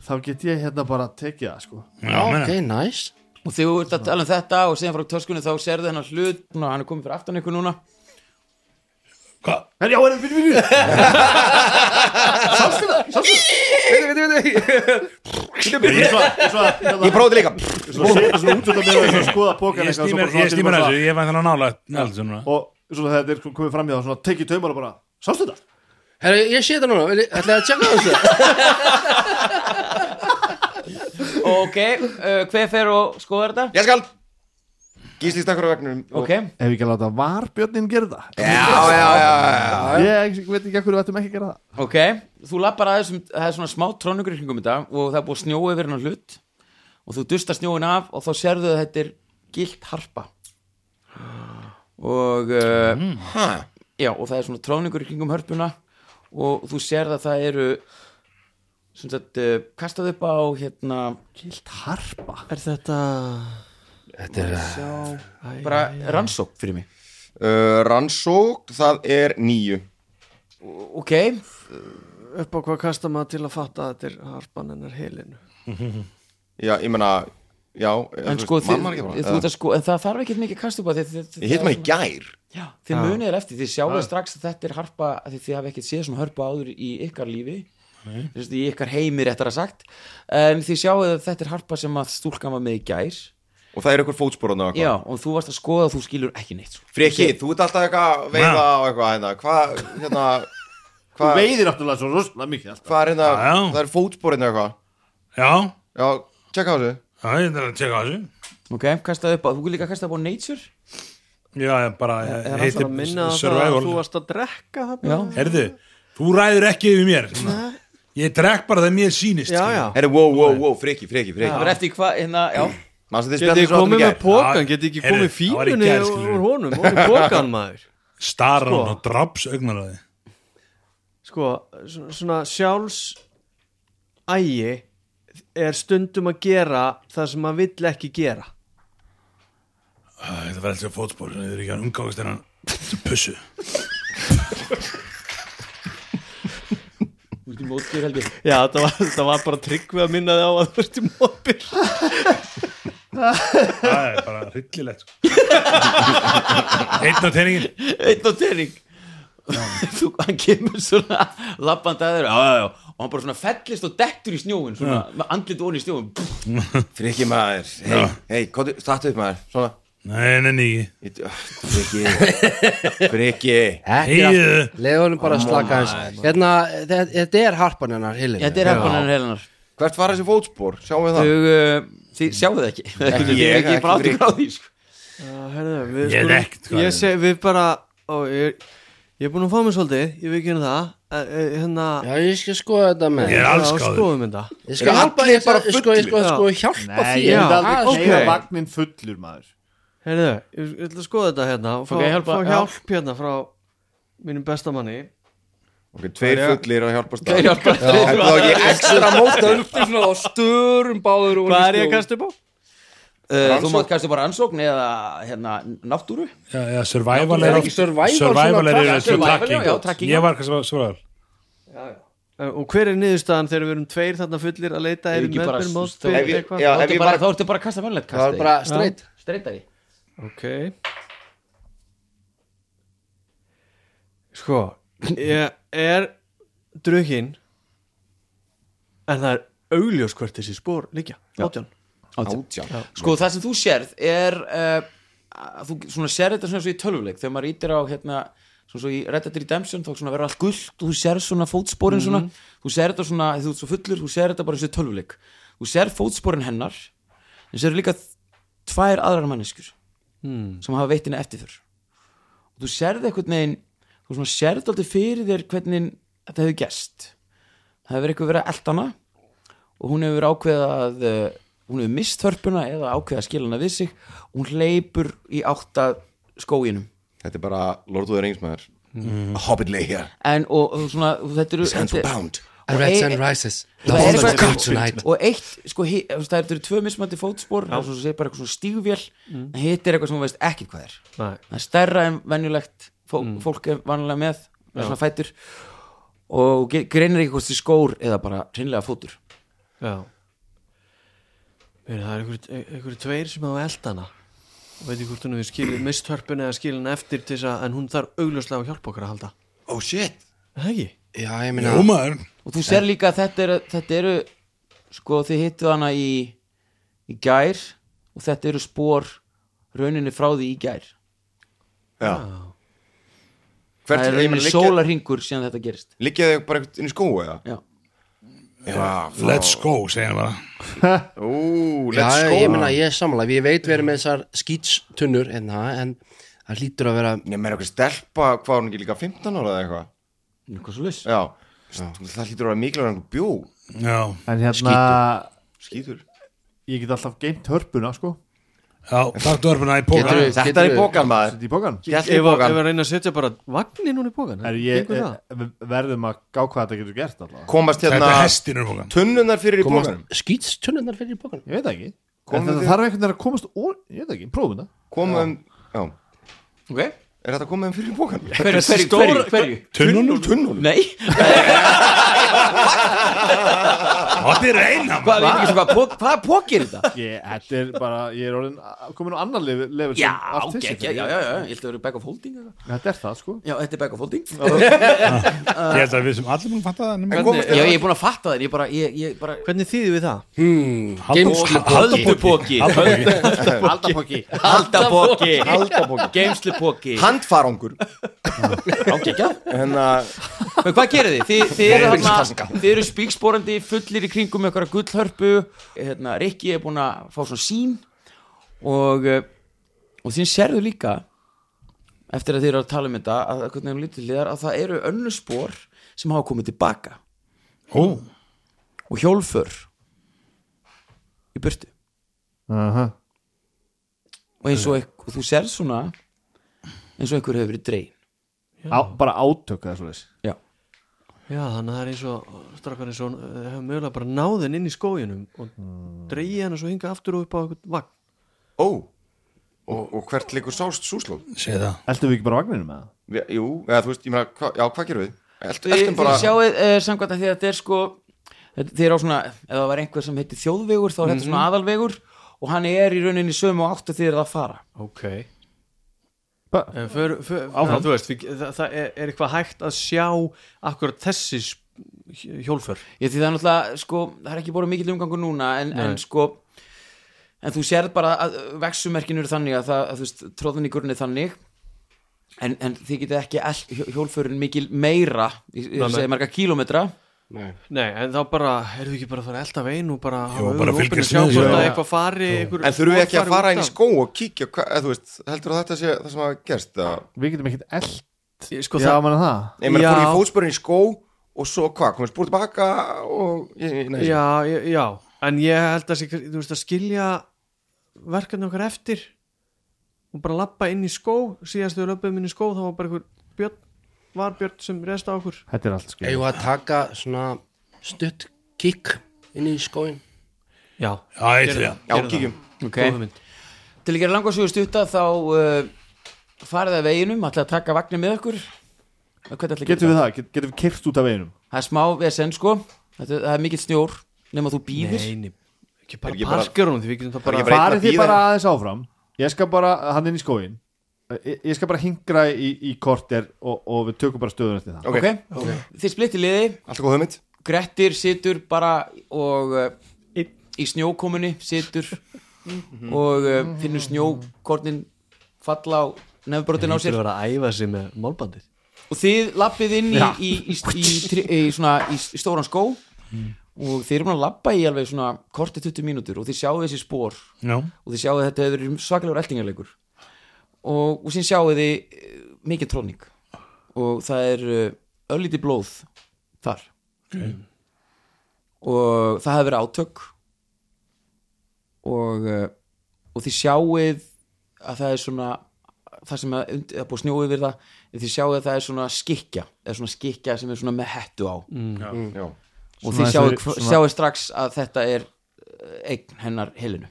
[SPEAKER 6] þá get ég hérna bara tekið það sko
[SPEAKER 8] Já, meina.
[SPEAKER 2] ok, nice
[SPEAKER 3] og þegar þú ert að tala um þetta og síðan frá töskunni þá sérðu hennar hlut Ná, hann er komið fyrir aftan ykkur núna
[SPEAKER 8] Hvað?
[SPEAKER 6] en já, en við, við, við sástu það, sástu það ég
[SPEAKER 1] Ég prófði líka
[SPEAKER 6] svo setja svona út út af mér og svo skoða pókan
[SPEAKER 8] Ég stýmur þessu, ég vænt hann að nála nálægt þessu núna.
[SPEAKER 6] og svo þetta er komið fram í það svona tekið taumar og bara, sástu þetta
[SPEAKER 2] Herra, ég sé þetta núna, ætlaði að tjekka þessu
[SPEAKER 3] ok, uh, hver fer og skoðar þetta?
[SPEAKER 1] Ég skal Gísli stakkur á vegnum
[SPEAKER 3] ok,
[SPEAKER 6] ef ekki að láta varbjörnin gera það
[SPEAKER 1] Já, já, já, já
[SPEAKER 6] ég veit ekki að hverju ættum ekki að gera það
[SPEAKER 3] ok þú lappar aðeins, um- það er svona smá trónugur hringum í dag og það er búið snjó yfir hennar hlut og þú dustar snjóin af og þá sérðu að þetta er gilt harpa og uh,
[SPEAKER 1] Mm. Ha,
[SPEAKER 3] já, og það er svona tróningur í kringum hörpuna og þú sér að það eru sem sagt, uh, kastað upp á hérna,
[SPEAKER 6] gilt harpa
[SPEAKER 5] Er þetta
[SPEAKER 2] Þetta er að
[SPEAKER 3] bara rannsókn fyrir mig
[SPEAKER 1] uh, Rannsókn, það er nýju
[SPEAKER 3] ok,
[SPEAKER 5] upp á hvað kasta maður til að fatta að þetta er harpan hennar helinu
[SPEAKER 1] Já, ég meina Já,
[SPEAKER 3] en sko, þið,
[SPEAKER 1] þið
[SPEAKER 3] þú ert að sko en það þarf ekki mikið kast upp á því þið,
[SPEAKER 1] Uh, Ég hitt maður í gær
[SPEAKER 3] já, þið munið er eftir, þið sjáu strax að þetta er harpa, af því þið hafi ekki séð svona hörpa áður í ykkar lífi Þessi, í ykkar heimi réttar að sagt en þið sjáu að þetta er harpa sem að stúlkan var með í gær
[SPEAKER 1] Og það er eitthvað fótsporun
[SPEAKER 3] já, og þú varst að skoða og þú skilur ekki neitt sko.
[SPEAKER 1] Freki, þú ert alltaf eitthvað að veiða á eitthvað hérna Hvað, hérna
[SPEAKER 6] þú
[SPEAKER 1] Hvað,
[SPEAKER 6] veiðir náttúrulega svo rosalega mikið alltaf
[SPEAKER 1] hvað er hérna
[SPEAKER 8] Já, já.
[SPEAKER 1] Það er fótsporun eitthvað
[SPEAKER 8] Já,
[SPEAKER 1] Já, tjekka á þessu
[SPEAKER 8] já, ég ætla að tjekka á þessu.
[SPEAKER 3] ok, kastaði upp á, þú líka kastaði upp á nature
[SPEAKER 8] Já, ég bara ég
[SPEAKER 5] Er
[SPEAKER 8] heiti
[SPEAKER 5] alltaf að minna á það að þú
[SPEAKER 8] Survival.
[SPEAKER 5] varst að drekka það
[SPEAKER 3] Já.
[SPEAKER 5] bara?
[SPEAKER 8] Herðu, þú ræður ekki yfir mér. svona. Ég drekk bara það mér sýnist.
[SPEAKER 5] Já,
[SPEAKER 8] skilur.
[SPEAKER 5] já
[SPEAKER 1] Herri, wow, wow, wow, freki, freki,
[SPEAKER 3] Það
[SPEAKER 1] freki
[SPEAKER 3] var eftir hvað, hérna, já
[SPEAKER 1] Manstu þið
[SPEAKER 5] Geti
[SPEAKER 1] spjallið
[SPEAKER 5] ég
[SPEAKER 1] svo áttum
[SPEAKER 5] komið
[SPEAKER 1] í
[SPEAKER 5] með
[SPEAKER 1] gær
[SPEAKER 5] pókan, geti ekki
[SPEAKER 8] Heyrðu,
[SPEAKER 5] komið
[SPEAKER 8] það var í
[SPEAKER 5] fílunni
[SPEAKER 8] gær, skilurðu.
[SPEAKER 5] úr honum, úr pókan maður
[SPEAKER 8] Staran
[SPEAKER 5] Sko.
[SPEAKER 8] og draps augnaraði.
[SPEAKER 5] sko, svona svona sjálfs ægi er stundum að gera það sem maður vill ekki gera
[SPEAKER 8] Æ, Þetta var alltaf fótspor, það er ekki að umgáðast hennan þessu pussu.
[SPEAKER 3] Þú ert í mótbyr held ég
[SPEAKER 5] já, þetta var, þetta var bara tryggvi að minna þig á að þú ert í móbil
[SPEAKER 8] Það er bara hryllilegt. sko. Einn á teiningin.
[SPEAKER 3] Einn og tering Þú, hann kemur svona lappand að þér, já, já, já og hann bara svona fellist og dettur í snjóin svona, með andlit onni í snjóin Pff,
[SPEAKER 1] Freki maður, hei, hei, komdu, startu upp maður Svona
[SPEAKER 8] Nei, nei, nei.
[SPEAKER 1] Ég- ah, Freki Freki
[SPEAKER 8] Heiðu.
[SPEAKER 2] Leðunum bara að slaka hans Hérna, þe- þetta er harpan hennar hillin
[SPEAKER 3] Þetta er hefðunar helinar
[SPEAKER 1] Hvert var þessi fótspor? Sjáum við það
[SPEAKER 3] Þau, uh, þið sjáu það ekki Þið
[SPEAKER 1] ég,
[SPEAKER 3] er ekki
[SPEAKER 1] ekki
[SPEAKER 3] bara áttu
[SPEAKER 1] Frikki.
[SPEAKER 3] á því sko.
[SPEAKER 5] Já, herðu, við
[SPEAKER 8] Ég er
[SPEAKER 5] skulum-
[SPEAKER 8] ekkert hvað
[SPEAKER 5] ég
[SPEAKER 8] er.
[SPEAKER 5] seg, við bara ó, ég, ég er búin að fá mér svolítið, ég veit ekki hérna það Eh, eh, hérna,
[SPEAKER 2] Já, ég skal skoða þetta með
[SPEAKER 8] Ég er
[SPEAKER 5] já,
[SPEAKER 8] allskáður.
[SPEAKER 5] skoðum þetta
[SPEAKER 2] Ég skal
[SPEAKER 1] Eru
[SPEAKER 2] hjálpa
[SPEAKER 1] allir
[SPEAKER 2] ég skal-
[SPEAKER 1] bara
[SPEAKER 2] sko, ég skal
[SPEAKER 5] fullir?
[SPEAKER 2] sko hjálpa
[SPEAKER 6] Nei,
[SPEAKER 2] því
[SPEAKER 6] ég
[SPEAKER 5] Já,
[SPEAKER 6] hef aldrei
[SPEAKER 5] ok.
[SPEAKER 6] okay. keira vagnin fullur maður
[SPEAKER 5] herðu, ég ég ætla að skoða þetta hérna og fá,
[SPEAKER 3] Ok, hjálpa,
[SPEAKER 5] fá
[SPEAKER 3] já.
[SPEAKER 5] hjálp hérna frá mínum bestamanni
[SPEAKER 1] Ok, tveir fullir að hjálpa stað
[SPEAKER 3] Þau hjálpa þér.
[SPEAKER 1] Er það ekki ekstra móta
[SPEAKER 2] og störum báður
[SPEAKER 5] hvað er ég að kasta upp á?
[SPEAKER 3] Uh, Þú
[SPEAKER 1] Rannsókn.
[SPEAKER 3] mátt kannski bara ansókn eða hérna, náttúru
[SPEAKER 8] Já, já, survival
[SPEAKER 2] Er
[SPEAKER 8] er
[SPEAKER 2] ekki survival
[SPEAKER 8] survival
[SPEAKER 2] svona
[SPEAKER 8] er
[SPEAKER 2] tracking?
[SPEAKER 8] yfirleitt svona
[SPEAKER 3] Survival,
[SPEAKER 8] tracking.
[SPEAKER 3] já, já, tracking,
[SPEAKER 8] Ég
[SPEAKER 3] já.
[SPEAKER 8] var kannski survival.
[SPEAKER 5] Eh, og hver er niðurstaðan þegar við erum tveir þarna fullir að leita
[SPEAKER 3] Er
[SPEAKER 5] er
[SPEAKER 3] ekki
[SPEAKER 5] með
[SPEAKER 3] bara
[SPEAKER 5] mér
[SPEAKER 3] stór-
[SPEAKER 5] mótbyr
[SPEAKER 1] Ef ég-
[SPEAKER 5] eitthvað
[SPEAKER 1] já,
[SPEAKER 3] Þá
[SPEAKER 1] ef
[SPEAKER 3] ertu
[SPEAKER 1] ég
[SPEAKER 3] bara-
[SPEAKER 1] var
[SPEAKER 3] þá ertu bara að kasta eh? vanlegt
[SPEAKER 2] Það er bara
[SPEAKER 3] kasta
[SPEAKER 2] streitt
[SPEAKER 3] Streitari
[SPEAKER 5] ok sko ég er drukkin en það er augljós hvert þessi spór líkja átján
[SPEAKER 1] Átján
[SPEAKER 3] Sko það sem þú sérð er uh, að þú svona sér þetta svona svo í tölvuleik þegar maður ítir á hérna svona svo í Red Dead Redemption þá svona verður allt gullt og þú sér svona fótsporin svona þú sér þetta svona, þú ert svo fullur þú sér þetta bara eins og í tölvuleik þú sér fótsporin hennar en sér líka tvær aðrar manneskjur sem hafa veitt henni eftirför og þú sérð eitthvað negin þú svona sérð aldrei fyrir þér hvernig þetta hefur gerst það hefur eitthvað verið að elda hana og hún hefur ákveða að eh, hún hefur mist hörpuna eða ákveða að skila hana við sig og hún hleypur í átta skóginum
[SPEAKER 1] Þetta er bara Lord of the Rings maður Hobbit leikja
[SPEAKER 3] en og, og svona og þetta eru
[SPEAKER 1] Sands
[SPEAKER 3] þetta-
[SPEAKER 1] were bound
[SPEAKER 3] og
[SPEAKER 2] Red
[SPEAKER 3] ei-
[SPEAKER 2] sun rises The
[SPEAKER 3] það er
[SPEAKER 2] homeless
[SPEAKER 3] eitthvað-
[SPEAKER 2] come tonight
[SPEAKER 3] og eitt sko, hi, þú veist, það eru tvö mismandi fótspor það er svo að segja bara eitthvað svona stígvél en hitt er eitthvað sem hún veist ekki hvað er
[SPEAKER 5] Nei.
[SPEAKER 3] það er stærra en venjulegt fó, fólk er vanlega með er svona fættur og ge- greinir ekki hvort þið skór eða bara hreinlega fótur
[SPEAKER 5] Já Meina, Það er einhverju einhver tveir sem hafa eldana og veit ekki hvort hún hefur skilið misthörpun eða skilið hann eftir til þess að en hún þarf augljóslega á hjálp okkar að halda
[SPEAKER 1] Oh shit
[SPEAKER 5] Er Það ekki?
[SPEAKER 2] Já, ég meina
[SPEAKER 8] Jú maður
[SPEAKER 3] og þú sér líka að þetta eru, þetta eru sko þið hittu hana í í gær og þetta eru spór rauninni frá því í gær
[SPEAKER 1] Já
[SPEAKER 3] það er
[SPEAKER 1] Hvert, ég meina,
[SPEAKER 3] rauninni
[SPEAKER 1] liggja,
[SPEAKER 3] sólarhingur síðan þetta gerist
[SPEAKER 1] liggja þau bara einhvern inn í skóu eða?
[SPEAKER 3] já,
[SPEAKER 1] Já, frá-
[SPEAKER 8] Let's go, segja hann bara
[SPEAKER 1] Ú,
[SPEAKER 2] Já,
[SPEAKER 1] let's go
[SPEAKER 2] ég meina, ég er samanlega Ég veit við erum með þessar skýtstunnur hérna, en það hlýtur að vera
[SPEAKER 1] Ég meina okkur stelpa, hvað er hún ekki líka 15 ára eða eitthvað
[SPEAKER 3] eitthvað svo laus
[SPEAKER 1] Já, það hlýtur að vera mikilvæg einhver bjó
[SPEAKER 8] Já,
[SPEAKER 6] En hérna,
[SPEAKER 1] Skítur
[SPEAKER 6] ég get alltaf geimt hörpuna sko
[SPEAKER 8] já, takk dörfuna í póka
[SPEAKER 2] Geturðu-
[SPEAKER 1] Þetta er í bókan maður
[SPEAKER 6] Sett í bókan
[SPEAKER 1] Ég
[SPEAKER 5] Ef
[SPEAKER 1] ætla í
[SPEAKER 5] að- ef
[SPEAKER 1] bókan
[SPEAKER 5] að reyna að setja bara vagnin hún í bókan
[SPEAKER 6] Er ég,
[SPEAKER 5] gengur það?
[SPEAKER 6] er, verðum að gá hvað þetta getur gert alltaf
[SPEAKER 1] Komast
[SPEAKER 8] Þetta
[SPEAKER 1] hérna
[SPEAKER 8] er hestinur pókan
[SPEAKER 1] tunnunar fyrir í bókanum
[SPEAKER 2] skýtstunnunar fyrir í bókan
[SPEAKER 6] Ég veit það ekki
[SPEAKER 1] Komum
[SPEAKER 6] En þetta
[SPEAKER 1] við-
[SPEAKER 6] þarf einhvern veginn að komast og, Ég veit það ekki, prófum þetta
[SPEAKER 1] Komum, um- já,
[SPEAKER 3] ok,
[SPEAKER 1] er þetta komum fyrir í bókan?
[SPEAKER 3] hverju, hverju, hverju, hverju?
[SPEAKER 1] Tunnunum? Tunnunum
[SPEAKER 3] nei,
[SPEAKER 8] Þetta er reyna maður
[SPEAKER 3] hvað, við veitum ekki svo hvað, pok- hvað pókir þetta?
[SPEAKER 6] Ég, þetta er bara, ég er orðin a- komin á annar level, level
[SPEAKER 3] já,
[SPEAKER 6] sem artisti,
[SPEAKER 3] ok, já,
[SPEAKER 6] fyrir.
[SPEAKER 3] já, já, já, ég held að vera back of holding eða?
[SPEAKER 6] Þetta er það sko
[SPEAKER 3] já, þetta er back of holding
[SPEAKER 8] Ég held að við sem allir múlum fatta það nema-
[SPEAKER 1] komast
[SPEAKER 3] já, ég er búin að fatta það, ég bara, ég, ég bara
[SPEAKER 5] Hvernig þýðum við það?
[SPEAKER 3] Höldupóki
[SPEAKER 6] Aldapokki
[SPEAKER 3] Haldapóki
[SPEAKER 1] Haldapóki.
[SPEAKER 3] Geimslupóki
[SPEAKER 1] Handfarangur Hérna,
[SPEAKER 3] Men hvað gerir þið? Þið, þið eru, þarna, þið eru spíksporandi fullir í kringum ykkur að gullhörpu hérna, Rikki er búin að fá svona sín og eh, og þín sérðu líka eftir að þið eru að tala um þetta að, að, hvernig hún lítur til hliðar, að það eru önnu spór sem hafa komið tilbaka
[SPEAKER 8] Ó,
[SPEAKER 3] og hjólfur í burtu og eins og, ekk- og þú sérð svona eins og einhver hefur verið drein
[SPEAKER 6] Bara átök eða svo leys
[SPEAKER 3] já
[SPEAKER 5] Já, þannig að það er eins og strakkan eins og eh, hefur mögulega bara náðin inn í skóginum og dreigi hana svo hinga aftur og upp á eitthvað vagn
[SPEAKER 1] ó Og, og hvert leikur sást súslóð?
[SPEAKER 8] segja það
[SPEAKER 6] Eltum við ekki bara vagninu með það?
[SPEAKER 1] Vi- Jú, eða þú veist, ég meina, hva, já, hvað gerum við? Elt,
[SPEAKER 3] Þið,
[SPEAKER 1] eltum bara
[SPEAKER 3] þið sjáuð uh, samkvæmt að því að þetta er sko þetta- Þið er á svona, ef það var einhver sem heitir þjóðvegur þá er þetta svona
[SPEAKER 5] Mhm.
[SPEAKER 3] aðalvegur og hann er í rauninni sömu átt að þið eru að fara
[SPEAKER 5] Ok
[SPEAKER 6] Ba-
[SPEAKER 5] för, för,
[SPEAKER 6] Áfram.
[SPEAKER 5] það, þú veist, við, það, það er, er eitthvað hægt að sjá akkurat þessi sp- hjólför
[SPEAKER 3] Ég því það er náttúrulega, sko, það er ekki búin mikill umgangur núna en, en sko en þú sérð bara að vexumerkinu eru þannig að það, að, þú veist, tróðan í gurni þannig en, en þið getið ekki elt hjó- hjólförin mikil meira ég,
[SPEAKER 5] Nei,
[SPEAKER 3] ég
[SPEAKER 5] nei.
[SPEAKER 3] segi marga kílómetra
[SPEAKER 5] Nei, en þá bara, erum við ekki bara að fara að elda veginn og bara
[SPEAKER 8] Jú, bara fylgjast
[SPEAKER 5] sjá
[SPEAKER 8] með þessu.
[SPEAKER 5] hvort að
[SPEAKER 8] Já.
[SPEAKER 5] eitthvað fari einhver,
[SPEAKER 1] En þurfum við ekki að
[SPEAKER 5] fari
[SPEAKER 1] fara
[SPEAKER 5] út
[SPEAKER 1] inn í
[SPEAKER 5] af?
[SPEAKER 1] skó og kíkja, hva, eða, þú veist, heldur að þetta sé það sem að gerst? eða?
[SPEAKER 6] Við getum ekkert eld
[SPEAKER 5] Ég- Sko,
[SPEAKER 6] Já,
[SPEAKER 5] það,
[SPEAKER 6] manna það
[SPEAKER 1] Ég meina,
[SPEAKER 5] Já.
[SPEAKER 1] fór ég fótspörinn í skó og svo hvað, komið spúr tilbaka og ég, ég, nei,
[SPEAKER 5] já, já, já, en ég held að sé- þú veist að skilja verkefni okkar eftir og bara lappa inn í skó síðast þegar löpum inn í skó þá var bara einhver björn var björn sem resta á okkur
[SPEAKER 6] Þetta er allt sko
[SPEAKER 2] Eigum við að taka svona stutt kikk inn í skóin
[SPEAKER 5] Já,
[SPEAKER 8] Já, ég til það
[SPEAKER 1] já, kíkjum
[SPEAKER 3] okay. Til að gera langarsögu stutta þá uh, farið að veginum, ætlaði að taka vagnir með okkur
[SPEAKER 6] Getum við það? Get- Getum við kyrft út af veginum?
[SPEAKER 3] Það er smá vesen sko Þetta, Það er mikill snjór nema þú býðir
[SPEAKER 5] Neini,
[SPEAKER 1] Er
[SPEAKER 5] ekki
[SPEAKER 1] ekki
[SPEAKER 5] bara
[SPEAKER 1] bara-
[SPEAKER 5] parkir hún því við getum það bara
[SPEAKER 1] ekki bara-
[SPEAKER 6] Farið
[SPEAKER 1] einn að
[SPEAKER 6] þið
[SPEAKER 1] bíða.
[SPEAKER 6] bara aðeins áfram Ég skal bara, hann inn í skóin Ég ég skal bara hingra í, í korter og, og við tökum bara stöðun eftir það
[SPEAKER 1] Ok,
[SPEAKER 3] okay. Þið splitti liði,
[SPEAKER 1] allt góð hugmynd
[SPEAKER 3] Grettir situr bara og uh, í snjókomunni situr og uh, finnur snjókornin falla á nefnbrotin á
[SPEAKER 5] Þú
[SPEAKER 3] sér
[SPEAKER 5] verður að æfa sig með málbandið
[SPEAKER 3] og þið lappið inn í, í, í, í, í, í, svona, í s- stóran skó og þið eru búin að lappa í alveg svona korti 20 mínútur og þið sjáu þessi spór
[SPEAKER 8] Já,
[SPEAKER 3] og þið sjáu að þetta hefur verið svakalegur eltingarleikur og, og sín sjáu þið eh, mikið tróning og það er eh, örlítið blóð þar og það hefur verið átök og, eh, og þið sjáuð að það er svona það sem að, und- að búið snjóið við það en þið sjáuð að það er svona skikja eða svona skikja sem er svona með hettu á
[SPEAKER 1] Já,
[SPEAKER 3] og
[SPEAKER 6] Mm. Svona
[SPEAKER 3] þið sjáuð,
[SPEAKER 6] eins og- svona-
[SPEAKER 3] sjáuð strax að þetta er eh, eign hennar helinu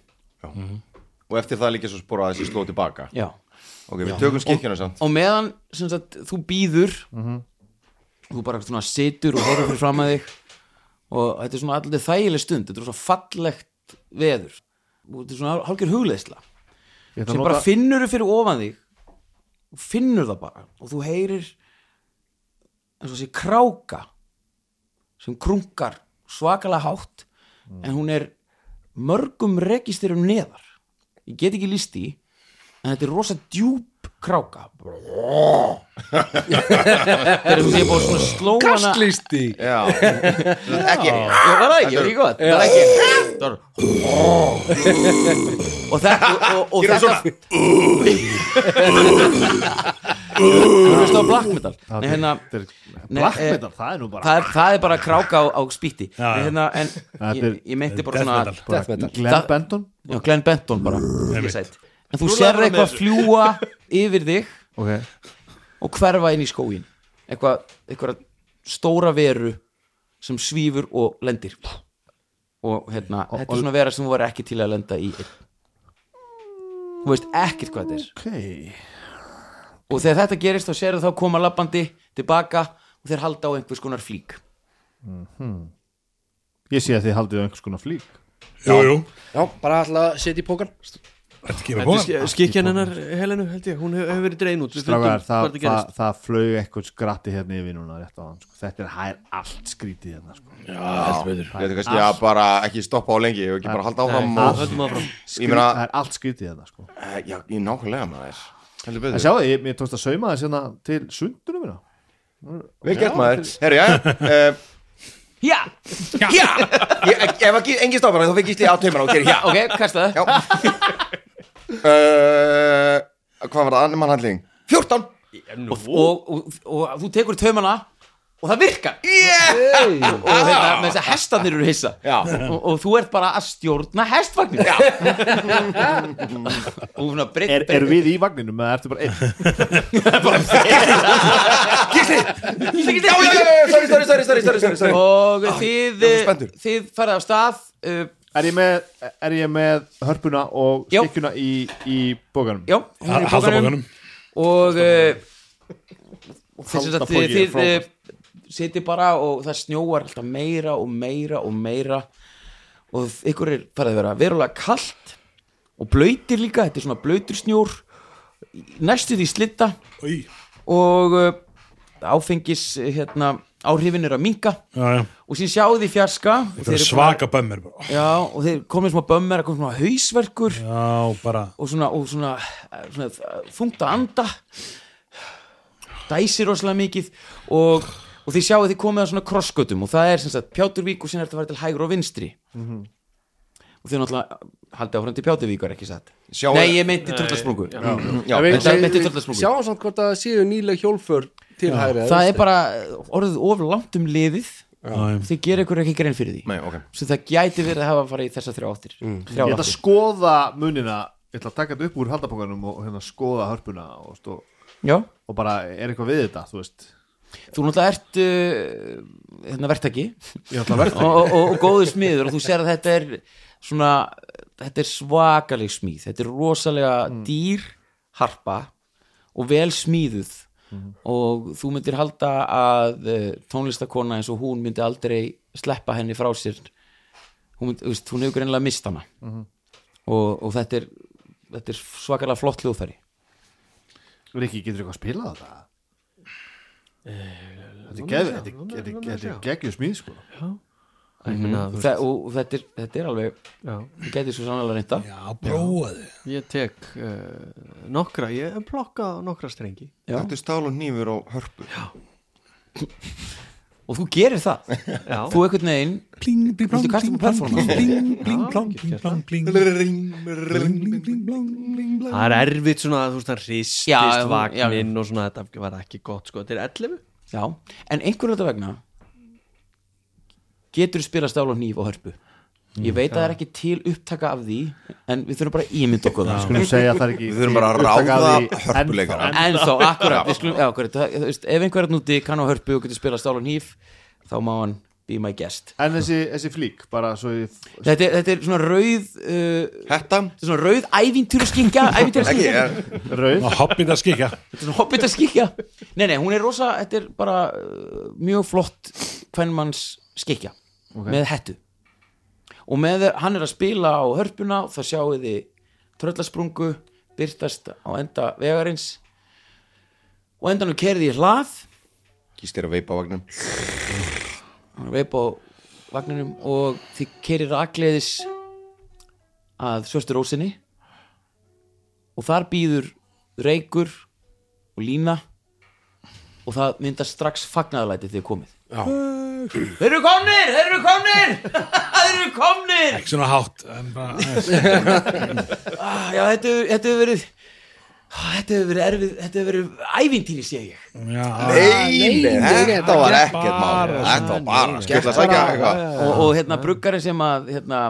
[SPEAKER 1] og eftir það líka svo spóra að þessi sló tilbaka
[SPEAKER 3] já
[SPEAKER 1] Ok, við tökum skikkjuna samt
[SPEAKER 6] Mhm.
[SPEAKER 3] og meðan sem sagt, þú býður þú bara svona situr og horfir fyrir fram að þig og þetta er svona alltaf þægileg stund þetta er svona fallegt veður og þetta er svona hálfgjör hugleðsla
[SPEAKER 6] Ég ætla
[SPEAKER 3] sem
[SPEAKER 6] að
[SPEAKER 3] bara
[SPEAKER 6] nota-
[SPEAKER 3] finnur fyrir ofan þig og finnur það bara og þú heyrir eins og sé kráka sem krunkar svakalega hátt en hún er mörgum rekistyrum neðar ég get ekki líst í en þetta er rosa djúp kráka þetta er eins og sé búið svona slóana
[SPEAKER 2] Kastlýsti
[SPEAKER 1] Já, Þú veist, ekki
[SPEAKER 3] Ég var það ekki, var ekki gott Það var ekki Það var Og þetta og- Og
[SPEAKER 1] Gerðu
[SPEAKER 3] þetta "Uh." Þú veist á black metal Nei, hérna
[SPEAKER 6] Þetta er-
[SPEAKER 3] Nei,
[SPEAKER 6] Black
[SPEAKER 3] eh,
[SPEAKER 6] metal, það er nú bara
[SPEAKER 3] Það er, það er bara kráka á, á spýtti
[SPEAKER 8] Já, já.
[SPEAKER 3] hérna, En
[SPEAKER 6] Þetta
[SPEAKER 3] ég,
[SPEAKER 6] er-
[SPEAKER 3] ég meinti bara
[SPEAKER 8] Death
[SPEAKER 3] svona
[SPEAKER 8] metal.
[SPEAKER 6] bara
[SPEAKER 2] metal.
[SPEAKER 6] Glenn
[SPEAKER 3] Það-
[SPEAKER 6] Benton
[SPEAKER 3] já, Glenn Benton bara
[SPEAKER 8] Einmitt.
[SPEAKER 3] Sæt. En þú serði eitthvað fljúa yfir þig
[SPEAKER 6] okay.
[SPEAKER 3] og hverfa inn í skógin eitthvað, eitthvað stóra veru sem svífur og lendir og hérna, þetta er svona vera sem þú var ekki til að lenda í þú veist ekkert hvað þetta er
[SPEAKER 6] Okay.
[SPEAKER 3] og þegar þetta gerist þá sérðu þá koma lappandi tilbaka og þeir halda á einhvers konar flík
[SPEAKER 6] Ég sé að þið haldið á einhvers konar flík
[SPEAKER 8] Jú, jú,
[SPEAKER 2] Já, bara alltaf setja í pókan
[SPEAKER 8] þetta kemur bóðan
[SPEAKER 5] Þetta er skikjan hennar Helenu held ég, hún hefur hef verið drein út Við
[SPEAKER 6] Strágar,
[SPEAKER 5] fundum
[SPEAKER 6] það,
[SPEAKER 5] hvað þetta
[SPEAKER 6] það,
[SPEAKER 5] gerist.
[SPEAKER 6] það flög eitthvað skratti hérna yfir núna rétt á hann sko. Þetta er hær allt skrítið hérna sko.
[SPEAKER 1] Þetta er kannski að bara ekki stoppa á lengi og ekki bara halda áfram
[SPEAKER 6] Nei,
[SPEAKER 1] og
[SPEAKER 5] höldum áfram
[SPEAKER 1] Ég meina,
[SPEAKER 6] Það er allt skrítið hérna sko.
[SPEAKER 1] eh, já, ég nákvæmlega maður Heldur betur
[SPEAKER 6] En sjáðu, ég, ég tókst að sauma þess hérna til sundunum minna
[SPEAKER 1] Vel gert maður Herru, já eh,
[SPEAKER 3] Já,
[SPEAKER 1] Já Ég- Ef ekki, engin stoppar þá fekk Gísli á taumana og gerir já
[SPEAKER 3] ok, kasta það
[SPEAKER 1] Já Eh, Hvað var það? Annumann handling 14
[SPEAKER 3] og, og, og, og þú tekur taumana og það virkar og, og hérna, með þess að hestarnir eru hissa
[SPEAKER 1] Já
[SPEAKER 3] og, og þú ert bara að stjórna hestvagnir og svona breytt
[SPEAKER 6] er, er við í vagninum eða ertu bara einn?
[SPEAKER 1] Já, já, já, já, sorry, sorry, sorry, sorry, sorry, sorry, sorry.
[SPEAKER 3] og þið
[SPEAKER 1] ég er svo spenntur.
[SPEAKER 3] þið farið af stað uh,
[SPEAKER 6] Er ég með, er ég með hörpuna og
[SPEAKER 3] Já.
[SPEAKER 6] skikkjuna í, í bókanum?
[SPEAKER 3] já, hún er í
[SPEAKER 8] Halda bókanum
[SPEAKER 3] bókanum og uh, þess að
[SPEAKER 6] bókin
[SPEAKER 3] þið,
[SPEAKER 6] er
[SPEAKER 3] þið
[SPEAKER 6] frábært.
[SPEAKER 3] uh, sitið bara og það snjóar alltaf meira og meira og meira og ykkur er farið að vera verulega kalt og blöytir líka, þetta er svona blöytur snjór næstuð í slitta
[SPEAKER 8] Í,
[SPEAKER 3] og uh, áfengis uh, hérna, áhrifin er að minka
[SPEAKER 8] já, já
[SPEAKER 3] og síðan sjáu því fjarska og
[SPEAKER 8] Þetta er
[SPEAKER 3] eru
[SPEAKER 8] svaka bömmir bara.
[SPEAKER 3] bara- já, og þeir komið smá bömmar það kom svona hausverkur
[SPEAKER 8] Já, bara
[SPEAKER 3] og svona, og svona, eh, svona eh, þungt að anda dæsir rosalega mikið og, og þið sjáu þið komið að svona krossgötum og það er sem sagt Pjáturvík og síðan er þetta að fara til hægur og vinstri og þið náttúrulega haldið áfram til Pjáturvíkar ekki satt
[SPEAKER 1] Sjáu-
[SPEAKER 3] nei, ég meinti Mm. tröllasprungu
[SPEAKER 1] Já,
[SPEAKER 3] við-
[SPEAKER 1] þetta-
[SPEAKER 3] er mitt í tröllasprungu.
[SPEAKER 2] Sjáum samt hvort að það séu nýleg hjólfur til hægri
[SPEAKER 3] það er bara orðið of langt um liðið
[SPEAKER 8] já.
[SPEAKER 3] þið gerir ykkur ekki grein fyrir því
[SPEAKER 1] Nei, ok
[SPEAKER 3] svo það gæti verið að hafa að fara í þessa þrjá áttir þrjá
[SPEAKER 6] Ég ætla að
[SPEAKER 3] áttir
[SPEAKER 6] skoða munina Ég ætla að taka þetta upp úr haldabókanum og hérna skoða hörpuna og, stó,
[SPEAKER 3] já
[SPEAKER 6] og bara er eitthvað við þetta, þú veist
[SPEAKER 3] þú náttúrulega ert uh, hérna verktaki
[SPEAKER 6] Ég ætla að verða
[SPEAKER 3] og, og, og góður smiður og þú sér að þetta er svona þetta er svakaleg smíð þetta er rosalega dýr harpa og vel smíðuð og þú myndir halda að uh, tónlistakona eins og hún myndi aldrei sleppa henni frá sér hún, mynd, þú veist, hún hefur greinlega mist hana og, og þetta er þetta er svakalega flott hljóðfæri
[SPEAKER 6] Riki, getur eitthvað að spila þetta? Þetta Eh, er geð- þetta er- þetta er- þetta er geggjur smíð sko.
[SPEAKER 5] Æ, ég meina, þú
[SPEAKER 3] Þa, og þetta er, þetta er alveg
[SPEAKER 5] Já.
[SPEAKER 3] þú getur svo sannlega reynda
[SPEAKER 8] Já, prófaði
[SPEAKER 5] Ég tek uh, nokkra, ég hef plokkað nokkra strengi
[SPEAKER 1] Þetta er stál og nýfur og hörpu
[SPEAKER 3] og þú gerir það
[SPEAKER 5] Já,
[SPEAKER 3] þú einhvern veginn
[SPEAKER 8] Pling, pling,
[SPEAKER 3] Viltu
[SPEAKER 8] pling,
[SPEAKER 3] kasta
[SPEAKER 8] pling,
[SPEAKER 3] með performance?
[SPEAKER 8] pling, pling, pling, pling, pling, pling, pling, pling, pling, pling, pling, pling.
[SPEAKER 5] það er erfitt svona þú veist það hristist
[SPEAKER 3] Já, já,
[SPEAKER 5] vagninn og svona þetta var ekki gott sko, þetta er 11
[SPEAKER 3] Já, en einhvern veginn vegna getur spila stál og hníf og hörpu ég veit að það er ekki til upptaka af því en við þurfum bara að ímynda okkur það
[SPEAKER 6] Skulum segja að það er ekki
[SPEAKER 1] Við þurfum bara að
[SPEAKER 6] upptaka
[SPEAKER 1] ráða
[SPEAKER 6] af því
[SPEAKER 1] hörpuleikara.
[SPEAKER 6] ennþá.
[SPEAKER 3] en þá, hérna akkurat, við skulum, já, akkurat það, þú veist, ef einhverjarn úti kann á hörpu og getur spila stál og hníf þá má hann be my guest
[SPEAKER 6] En þessi, þessi flík, bara svo ég
[SPEAKER 3] þetta er, þetta er svona rauð uh,
[SPEAKER 1] Hetta?
[SPEAKER 3] þetta er svona rauð ævintýraskikja
[SPEAKER 1] Ekki,
[SPEAKER 3] ævintýraskikja
[SPEAKER 1] ég,
[SPEAKER 6] rauð
[SPEAKER 8] Hobbit að skikja
[SPEAKER 3] þetta er svona hobbitaskikja nei nei hún er rosa þetta er bara uh, mjög flott kvennmanns skikja með hettu og með hann er að spila á hörpuna þá sjáu þið tröllasprungu byrtast á enda vegarins og endanum kerði í hlað
[SPEAKER 1] gíst þér að veipa á vagnum
[SPEAKER 3] hann er veip á vagninum og þið kerir rakleiðis að svörstu rósinni og þar býður reykur og lína og það myndast strax fagnaðalæti þegar komið Þeir eru komnir, þeir eru komnir Þeir eru komnir
[SPEAKER 8] ekki svona hátt en bara, aðeins.
[SPEAKER 3] ah, Já, þetta hefur- þetta hefur verið ah, Þetta hefur verið erfið Þetta hefur verið ævintýri, sé ég
[SPEAKER 8] já,
[SPEAKER 1] Nei, nei, þetta var ekkert mál
[SPEAKER 8] bara
[SPEAKER 1] Þetta var bara skella að sækja eitthvað
[SPEAKER 3] og, og hérna bruggarinn sem að hérna,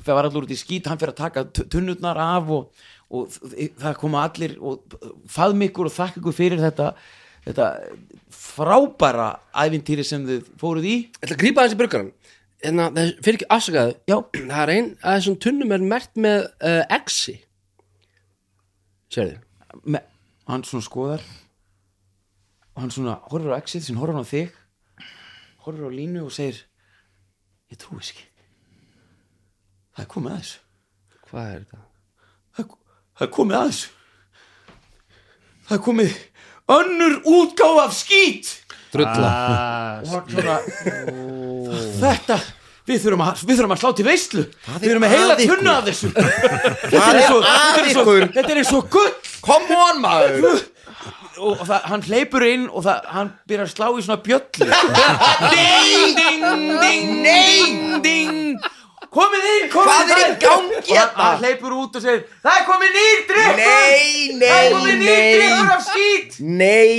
[SPEAKER 3] það var allur út í skít, hann fyrir að taka tu- tunnurnar af og, og það koma allir og faðm ykkur og þakka ykkur fyrir þetta þetta frábæra ævintýri sem þið fóruð í
[SPEAKER 2] ætla að grípa þessi burgaran hérna, þess, fyrir ekki afsakaðu
[SPEAKER 3] Já.
[SPEAKER 2] það er ein að þessum tunnum er mert með uh, exi sérðu
[SPEAKER 3] Me, hann svona skoðar og hann svona horfir á exit sem horfir hann á þig horfir á línu og segir ég trúi þess ekki það er komið að þessu
[SPEAKER 2] hvað er þetta?
[SPEAKER 3] það er- það er komið aðeins það er komið önnur útgáf af skít
[SPEAKER 2] drulla
[SPEAKER 6] Ah,
[SPEAKER 3] og hann svona þetta við þurfum, að, við þurfum að slá til veislu við erum með heila
[SPEAKER 1] að ykkur.
[SPEAKER 3] tunna af þessu þetta
[SPEAKER 1] Það
[SPEAKER 3] er
[SPEAKER 1] er
[SPEAKER 3] svo,
[SPEAKER 1] að
[SPEAKER 3] þetta er svo,
[SPEAKER 1] ykkur.
[SPEAKER 3] þetta er svo gull
[SPEAKER 1] Come on, maður
[SPEAKER 3] og það, hann hleypur inn og það, hann byrjar að slá í svona bjöllu ding, ding, ding, ding, ding komið inn, komið
[SPEAKER 1] Hvað er í
[SPEAKER 3] inn
[SPEAKER 1] gangi
[SPEAKER 3] og
[SPEAKER 1] hérna?
[SPEAKER 3] hann, hann hleypur út og segir það er komið nýr drikkur
[SPEAKER 1] Nei,
[SPEAKER 3] það er
[SPEAKER 1] nei,
[SPEAKER 3] komið nýr drikkur
[SPEAKER 1] nei
[SPEAKER 3] af skít
[SPEAKER 1] Nei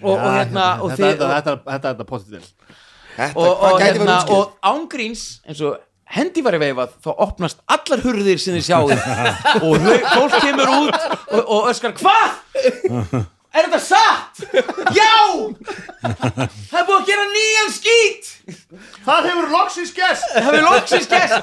[SPEAKER 3] og, og hérna og,
[SPEAKER 6] ah,
[SPEAKER 3] þið,
[SPEAKER 6] þetta, þetta,
[SPEAKER 3] og,
[SPEAKER 6] þetta, þetta, þetta potið til
[SPEAKER 1] Þetta,
[SPEAKER 3] og,
[SPEAKER 1] hvað
[SPEAKER 3] og,
[SPEAKER 1] gæti verið
[SPEAKER 3] hérna,
[SPEAKER 1] útskilt?
[SPEAKER 3] og ángríns eins og hendi var í veifað þá opnast allar hurðir sem þið sjáðu og hau- fólk kemur út og, og öskar hvað? Er þetta satt? Já! Það er búið að gera nýjan skít
[SPEAKER 6] Það hefur loksins gest
[SPEAKER 3] Það er loksins gest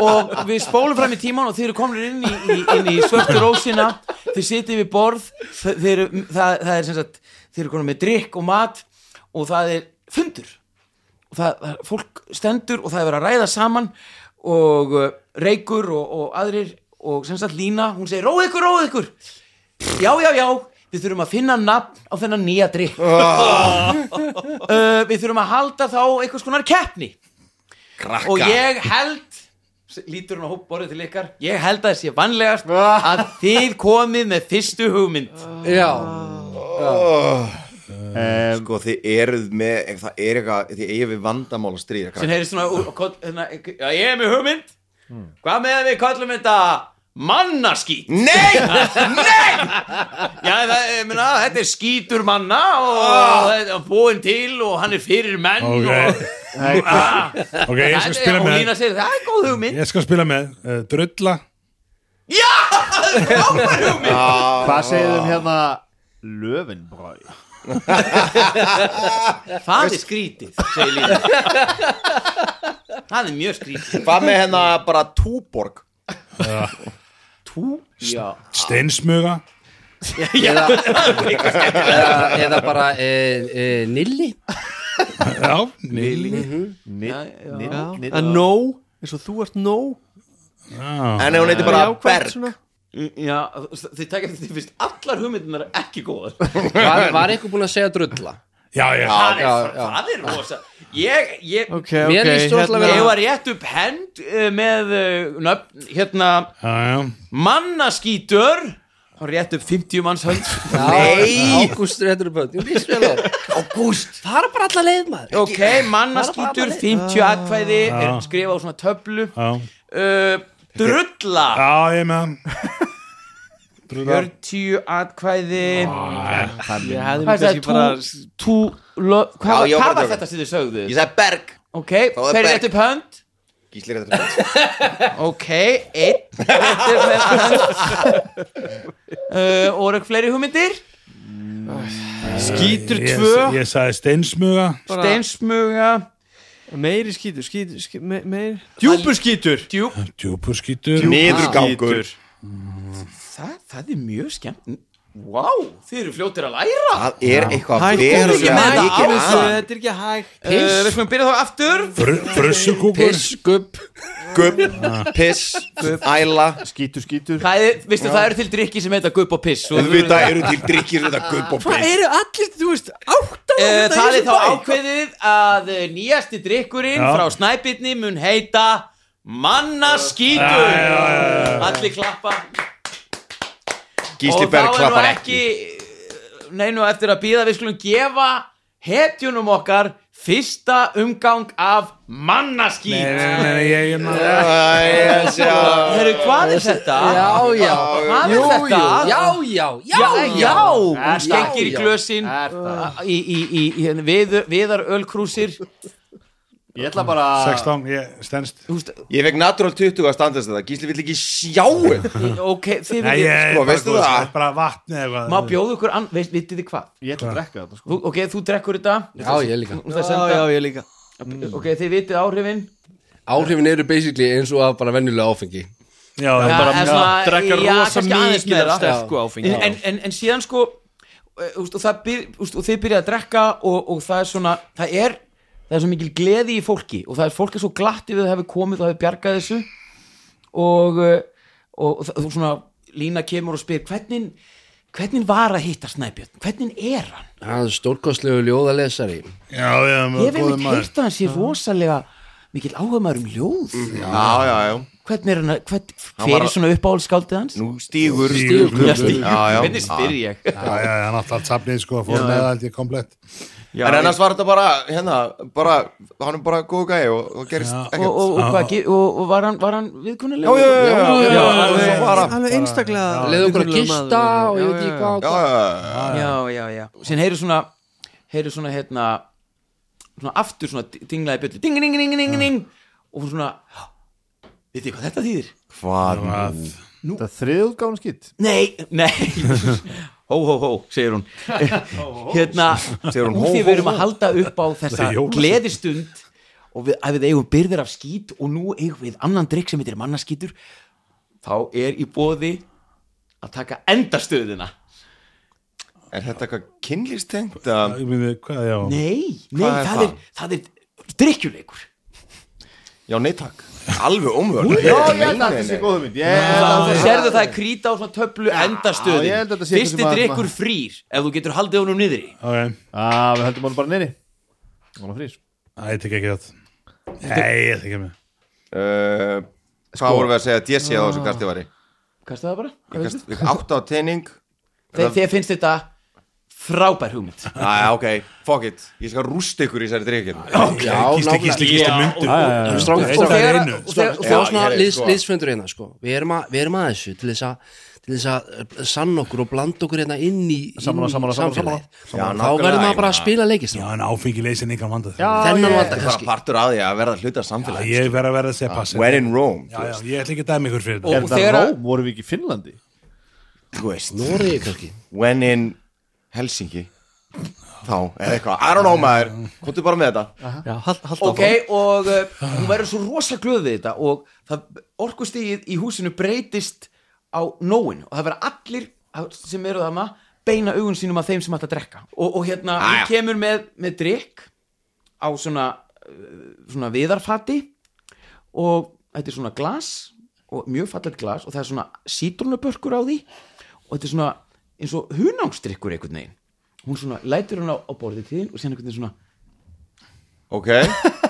[SPEAKER 3] Og við spólum fram í tíman og þeir eru komin inn í, í, inn í svörtu rósina Þeir sitja við borð þe- þeir, eru- það, það er sem sagt Þeir eru komin með drikk og mat Og það er fundur og það, það, Fólk stendur og það er verið að ræða saman Og uh, reykur og, og aðrir Og sem sagt Lína, hún segir Róð ykkur, róð ykkur Já, já, já Við þurfum að finna nafn á þennan nýja drikk uh, Við þurfum að halda þá einhvers konar keppni
[SPEAKER 1] Krakka
[SPEAKER 3] og ég held lítur hún á hóp borðið til ykkar ég held að það sé vanlegast
[SPEAKER 8] Ah.
[SPEAKER 3] að þið komið með fyrstu hugmynd
[SPEAKER 2] já,
[SPEAKER 1] Sko, þið eruð með ef Það er eitthvað, þið eigið við vandamál að stríða
[SPEAKER 3] sem
[SPEAKER 1] krakka
[SPEAKER 3] heyrðist svona úr, koll, hérna, já, ég er með hugmynd
[SPEAKER 8] Hmm.
[SPEAKER 3] hvað með að við kallum þetta mannaskít
[SPEAKER 1] Nei,
[SPEAKER 3] já, það, ég meina, þetta er skítur manna og oh. búin til og hann er fyrir menn
[SPEAKER 8] Ah. ok,
[SPEAKER 3] og,
[SPEAKER 8] ok, ég skal
[SPEAKER 3] Þetta-
[SPEAKER 8] spila
[SPEAKER 3] og
[SPEAKER 8] með
[SPEAKER 3] Lína segir það er góð hugmynd
[SPEAKER 8] ég skal spila með uh, drulla
[SPEAKER 1] Ah.
[SPEAKER 6] Hvað segir þeim hérna Löfinbræ
[SPEAKER 3] það er skrítið segir Lína það er mjög skrítið
[SPEAKER 1] hvað með hérna bara túborg
[SPEAKER 3] já
[SPEAKER 8] steinsmuga
[SPEAKER 2] eða, eða bara e, e, nilli
[SPEAKER 8] já, nýli
[SPEAKER 5] að
[SPEAKER 6] Nýtt
[SPEAKER 5] no, eins og þú ert no
[SPEAKER 8] já,
[SPEAKER 1] En ef hún heiti bara
[SPEAKER 5] Jákvætt
[SPEAKER 1] Berg
[SPEAKER 5] svona.
[SPEAKER 3] Mm, Já, þið tekja þetta, þið finnst allar hugmyndunar ekki góðar
[SPEAKER 2] var, var eitthvað búin að segja drulla
[SPEAKER 8] já, já,
[SPEAKER 3] Það
[SPEAKER 2] já,
[SPEAKER 3] er,
[SPEAKER 2] já.
[SPEAKER 3] það er rosa Ég, ég, hérna
[SPEAKER 5] ok, ok,
[SPEAKER 2] Mér líst rosalega vel
[SPEAKER 3] ég
[SPEAKER 2] á-
[SPEAKER 5] hérna
[SPEAKER 3] var rétt upp hend uh, með uh, nöfn, hérna
[SPEAKER 8] já, já.
[SPEAKER 3] mannaskítur og rétt upp 50 manns hönd
[SPEAKER 1] Nei.
[SPEAKER 2] ágúst réttur upp hönd Jú, líst vel á.
[SPEAKER 3] Ágúst
[SPEAKER 2] það er bara alla leið maður
[SPEAKER 3] Ok, mannaskítur, 50 atkvæði er skrifa á svona töflu
[SPEAKER 8] já,
[SPEAKER 3] uh, Drulla
[SPEAKER 8] já, ég er með hann drulla
[SPEAKER 3] 40 atkvæði
[SPEAKER 1] Ah.
[SPEAKER 5] ég hefði
[SPEAKER 3] Hvað
[SPEAKER 5] mér
[SPEAKER 3] er
[SPEAKER 5] kannski bara
[SPEAKER 3] það? Tú, tú lo,
[SPEAKER 1] Já,
[SPEAKER 3] Hvað,
[SPEAKER 1] ég var
[SPEAKER 3] hvað
[SPEAKER 1] bara
[SPEAKER 3] var
[SPEAKER 1] að
[SPEAKER 3] þetta sem þið sögðu?
[SPEAKER 1] Ég sagði Berg
[SPEAKER 3] Ok,
[SPEAKER 1] er
[SPEAKER 3] þeir
[SPEAKER 1] Berg.
[SPEAKER 3] rétt upp hönd
[SPEAKER 1] Gísli er þetta
[SPEAKER 3] Ok, einn Þetta er með uh, Og eru fleiri hugmyndir
[SPEAKER 5] skítur
[SPEAKER 8] Ég-
[SPEAKER 5] tvö
[SPEAKER 8] ég sagði steinsmuga
[SPEAKER 5] bara-
[SPEAKER 3] Steinsmuga
[SPEAKER 5] meiri skítur, skítur, skítur me, meiri... djúpur skítur Djúp.
[SPEAKER 8] Djúpur skítur
[SPEAKER 1] Niðurgangur
[SPEAKER 3] það, það er mjög skemmt Wow, þið eru fljótir að læra
[SPEAKER 1] Það er eitthvað
[SPEAKER 5] hættu ekki
[SPEAKER 1] verulega
[SPEAKER 5] með það á
[SPEAKER 1] mikið að
[SPEAKER 5] þessu, þetta er ekki hægt
[SPEAKER 3] uh, Við skulum byrja þá aftur
[SPEAKER 8] Frussukúkur
[SPEAKER 2] Piskup
[SPEAKER 1] Gubb, piss, æla
[SPEAKER 6] Skítur, skítur
[SPEAKER 3] Það er, veistu, það eru til drikki sem heita gupp og piss og-
[SPEAKER 1] Þú veit að eru til drikkir þetta gubb og
[SPEAKER 5] hvað
[SPEAKER 1] piss
[SPEAKER 5] eru allir, þú veist, átt á
[SPEAKER 3] Eh,
[SPEAKER 5] þetta í
[SPEAKER 3] Það er þá
[SPEAKER 5] þessum bæ?
[SPEAKER 3] ákveðið að eh, nýjasti
[SPEAKER 8] Já.
[SPEAKER 3] drikkurinn frá snæbitni mun heita mannaskítur Allir klappa
[SPEAKER 1] Gísli
[SPEAKER 3] Og
[SPEAKER 1] Berg
[SPEAKER 3] þá er nú
[SPEAKER 1] klappar
[SPEAKER 3] ekki
[SPEAKER 1] ekki
[SPEAKER 3] Nei, nú eftir að býða við skulum gefa hetjunum okkar fyrsta umgang af
[SPEAKER 8] Nei, nei,
[SPEAKER 3] mannaskít
[SPEAKER 8] nei, nei, ég, ég,
[SPEAKER 1] Æ, ég sjá.
[SPEAKER 3] Herru, hvað er þetta?
[SPEAKER 2] Já, já
[SPEAKER 3] Hvað
[SPEAKER 2] Jú,
[SPEAKER 3] er
[SPEAKER 2] jú,
[SPEAKER 3] þetta?
[SPEAKER 2] já, já, já,
[SPEAKER 3] Já, já, hún
[SPEAKER 2] Er
[SPEAKER 3] stengir í
[SPEAKER 2] það?
[SPEAKER 3] glösin
[SPEAKER 2] Er það?
[SPEAKER 3] í, í, í, í hérna, við, viðar ölkrúsir
[SPEAKER 6] Ég ætla bara
[SPEAKER 8] 16, ég stendst
[SPEAKER 1] Ég fekk natural 20 að standast þetta Gísli vill ekki sjá þetta.
[SPEAKER 3] Ok, þið
[SPEAKER 8] Nei,
[SPEAKER 3] viljið
[SPEAKER 8] ég,
[SPEAKER 1] Sko, veistu
[SPEAKER 8] bara,
[SPEAKER 1] það?
[SPEAKER 8] bara vatni eða
[SPEAKER 3] Má bjóða ykkur ann, veist, vitið þið hvað?
[SPEAKER 6] Ég ætla að drekka þetta sko
[SPEAKER 3] Þú, ok, þú drekkur þetta
[SPEAKER 2] Já, ég líka
[SPEAKER 3] Þú þarft að
[SPEAKER 5] já,
[SPEAKER 3] senda-
[SPEAKER 5] já, ég líka
[SPEAKER 3] Ok, þið vitið áhrifin
[SPEAKER 2] Áhrifin eru basically eins og að bara venjulega áfengi
[SPEAKER 8] Já, já, bara
[SPEAKER 3] en svona- já,
[SPEAKER 5] drekkar rosa
[SPEAKER 3] kannski aðeins
[SPEAKER 5] mikið af
[SPEAKER 3] meira.
[SPEAKER 5] sterku
[SPEAKER 3] Já.
[SPEAKER 5] áfengi.
[SPEAKER 3] en, en, en síðan sko eh, úst, og, það byr, úst, og þið byrjaði að drekka og, og það er svona það er, það er svo mikil gleði í fólki og það er fólk er svo glatti við að hefur komið og hefur bjargað þessu og, eh, og, og það, þú svona Lína kemur og spyr hvernig, hvernig var að hitta Snæbjörn hvernig er hann?
[SPEAKER 2] Það er stórkostlegu ljóðalesari
[SPEAKER 8] já, já,
[SPEAKER 3] Ég hef
[SPEAKER 8] góður
[SPEAKER 3] einmitt
[SPEAKER 8] maður.
[SPEAKER 3] heyrt að hann sé rosalega mikil áhugaður um ljóð
[SPEAKER 8] Mhm.
[SPEAKER 1] Já, já, já
[SPEAKER 3] hvernig er hann, að- hvern,
[SPEAKER 1] var
[SPEAKER 3] hver er
[SPEAKER 1] að-
[SPEAKER 3] svona uppáhaldsskáldið hans?
[SPEAKER 1] Nú stígur
[SPEAKER 8] Stígur.
[SPEAKER 3] Já, stígur.
[SPEAKER 1] Já, já.
[SPEAKER 3] hvernig spyr ég?
[SPEAKER 8] Já, já, já, hann átti allt safnið sko, fór með allt í komplett
[SPEAKER 3] Já,
[SPEAKER 1] En annars var þetta bara, hérna, bara Hann er bara góð gæi og, og gerist
[SPEAKER 3] og,
[SPEAKER 1] ekkert
[SPEAKER 3] og, og, hvað, ge- og, og var hann, var hann viðkunnilega?
[SPEAKER 1] Já, já, já, já, já, já,
[SPEAKER 3] já,
[SPEAKER 1] já, bara-
[SPEAKER 5] alveg einstaklega
[SPEAKER 2] Leðu okkur að
[SPEAKER 5] virðulegur
[SPEAKER 2] gista
[SPEAKER 5] maður.
[SPEAKER 2] og ég veit
[SPEAKER 5] Já,
[SPEAKER 2] ekki
[SPEAKER 5] já,
[SPEAKER 2] hvað og
[SPEAKER 1] já,
[SPEAKER 2] hvað.
[SPEAKER 1] já,
[SPEAKER 3] já, já, já. Síðan heyrir svona, heyrir svona, hérna, svona aftur svona dinglaði bjöllu, ding, ding, ding, ding, ding, og hún svona, veit ég hvað þetta þýðir?
[SPEAKER 1] Hvað?
[SPEAKER 6] Þetta er þriðgáðan skýtt
[SPEAKER 3] Nei, nei, hó, hó, hó, segir hún. hérna,
[SPEAKER 1] Segir hún,
[SPEAKER 3] úr
[SPEAKER 1] hó,
[SPEAKER 3] því
[SPEAKER 1] hó,
[SPEAKER 3] við erum að halda upp á þessa
[SPEAKER 8] er jólasveinn.
[SPEAKER 3] gleðistund og við, að við eigum byrðir af skít og nú eigum við annan drikk sem heitir mannaskítur þá er í bóði að taka endastöðina
[SPEAKER 1] Er þetta eitthvað kynlýstengt? Um,
[SPEAKER 8] Ég myndi, hvað, já
[SPEAKER 3] Nei, nei,
[SPEAKER 1] Hvað er
[SPEAKER 3] það, er, það er drikkjuleikur
[SPEAKER 1] já, nei takk Alveg ómöður
[SPEAKER 6] Já, ég held að þetta sé góða mynd Ég held að
[SPEAKER 3] Það sérðu það er krýta á svona töflu endastöðin
[SPEAKER 6] ég held að þetta sé eitthvað
[SPEAKER 3] Fyrsti
[SPEAKER 6] sem að-
[SPEAKER 3] drikkur frýr ef þú getur haldið honum niðri
[SPEAKER 8] Ok,
[SPEAKER 6] Á, Ah, Við höldum hann bara neyri Hún er frýs
[SPEAKER 8] Æ, ég tek ekki það Nei, ég tek ekki með
[SPEAKER 1] Uh, Hvað vorum við að segja? Djessi á þessu karti væri
[SPEAKER 3] Kastu það bara? Hvað veistu?
[SPEAKER 1] Átt á teining
[SPEAKER 3] Þe- Þér finnst þetta frábær hugmynd
[SPEAKER 1] Næja, Ah, ok, fuck it Ég skal rústa ykkur í þessari drikkinu
[SPEAKER 2] Já,
[SPEAKER 8] Gísli, gísli,
[SPEAKER 2] nákvæmlega
[SPEAKER 8] gísli, myndu
[SPEAKER 2] Og þegar-
[SPEAKER 8] einu.
[SPEAKER 2] og þegar- og
[SPEAKER 1] Já,
[SPEAKER 2] það er svona
[SPEAKER 1] ég er
[SPEAKER 2] liðs-
[SPEAKER 1] sko.
[SPEAKER 2] liðsfundur hérna sko. við, erum að, við erum að þessu til þess að til þess að eh, sanna okkur og blanda okkur hérna inn í, inn í
[SPEAKER 6] Sammála, sammála, sammála,
[SPEAKER 2] samfélagið
[SPEAKER 1] sammála. Já,
[SPEAKER 2] þá verðum
[SPEAKER 1] nákvæmlega,
[SPEAKER 2] maður bara að
[SPEAKER 1] ég
[SPEAKER 2] spila leikist
[SPEAKER 8] Já, en áfengi leysin ykkur vandað
[SPEAKER 2] þennan
[SPEAKER 1] Þetta
[SPEAKER 2] vanda
[SPEAKER 1] er bara
[SPEAKER 2] kannski
[SPEAKER 1] partur að því að verða hluta samfélag
[SPEAKER 8] Ég verð að verða að segja passa
[SPEAKER 1] When in Rome
[SPEAKER 8] Já, já, ég ætla ekki að dæmi ykkur fyrir
[SPEAKER 3] Og-
[SPEAKER 8] þetta
[SPEAKER 6] Er
[SPEAKER 3] og
[SPEAKER 6] þetta
[SPEAKER 3] þegar-
[SPEAKER 6] Róm? Vorum við ekki í Finnlandi?
[SPEAKER 1] Þú veist
[SPEAKER 2] Noregi kannski
[SPEAKER 1] When in Helsinki Þá, eða eitthvað I don't know maður Komdu bara með þetta
[SPEAKER 5] já, hald, hald
[SPEAKER 3] ok, og uh, hún verður svo rosa glöð við þetta og það orkustíð í húsinu breytist á nóin og það verður allir sem eru þarna beina augun sínum að þeim sem ætla að drekka og, og hérna, hún
[SPEAKER 1] Jæja.
[SPEAKER 3] kemur með, með drikk á svona uh, svona viðarfati og þetta er svona glas og mjög fallet glas og það er svona sítrunabörkur á því og þetta er svona eins og hunangsdrykkur einhvern veginn hún svona lætur hún á, á borðið til þín og síðan einhvern veginn svona
[SPEAKER 1] Ok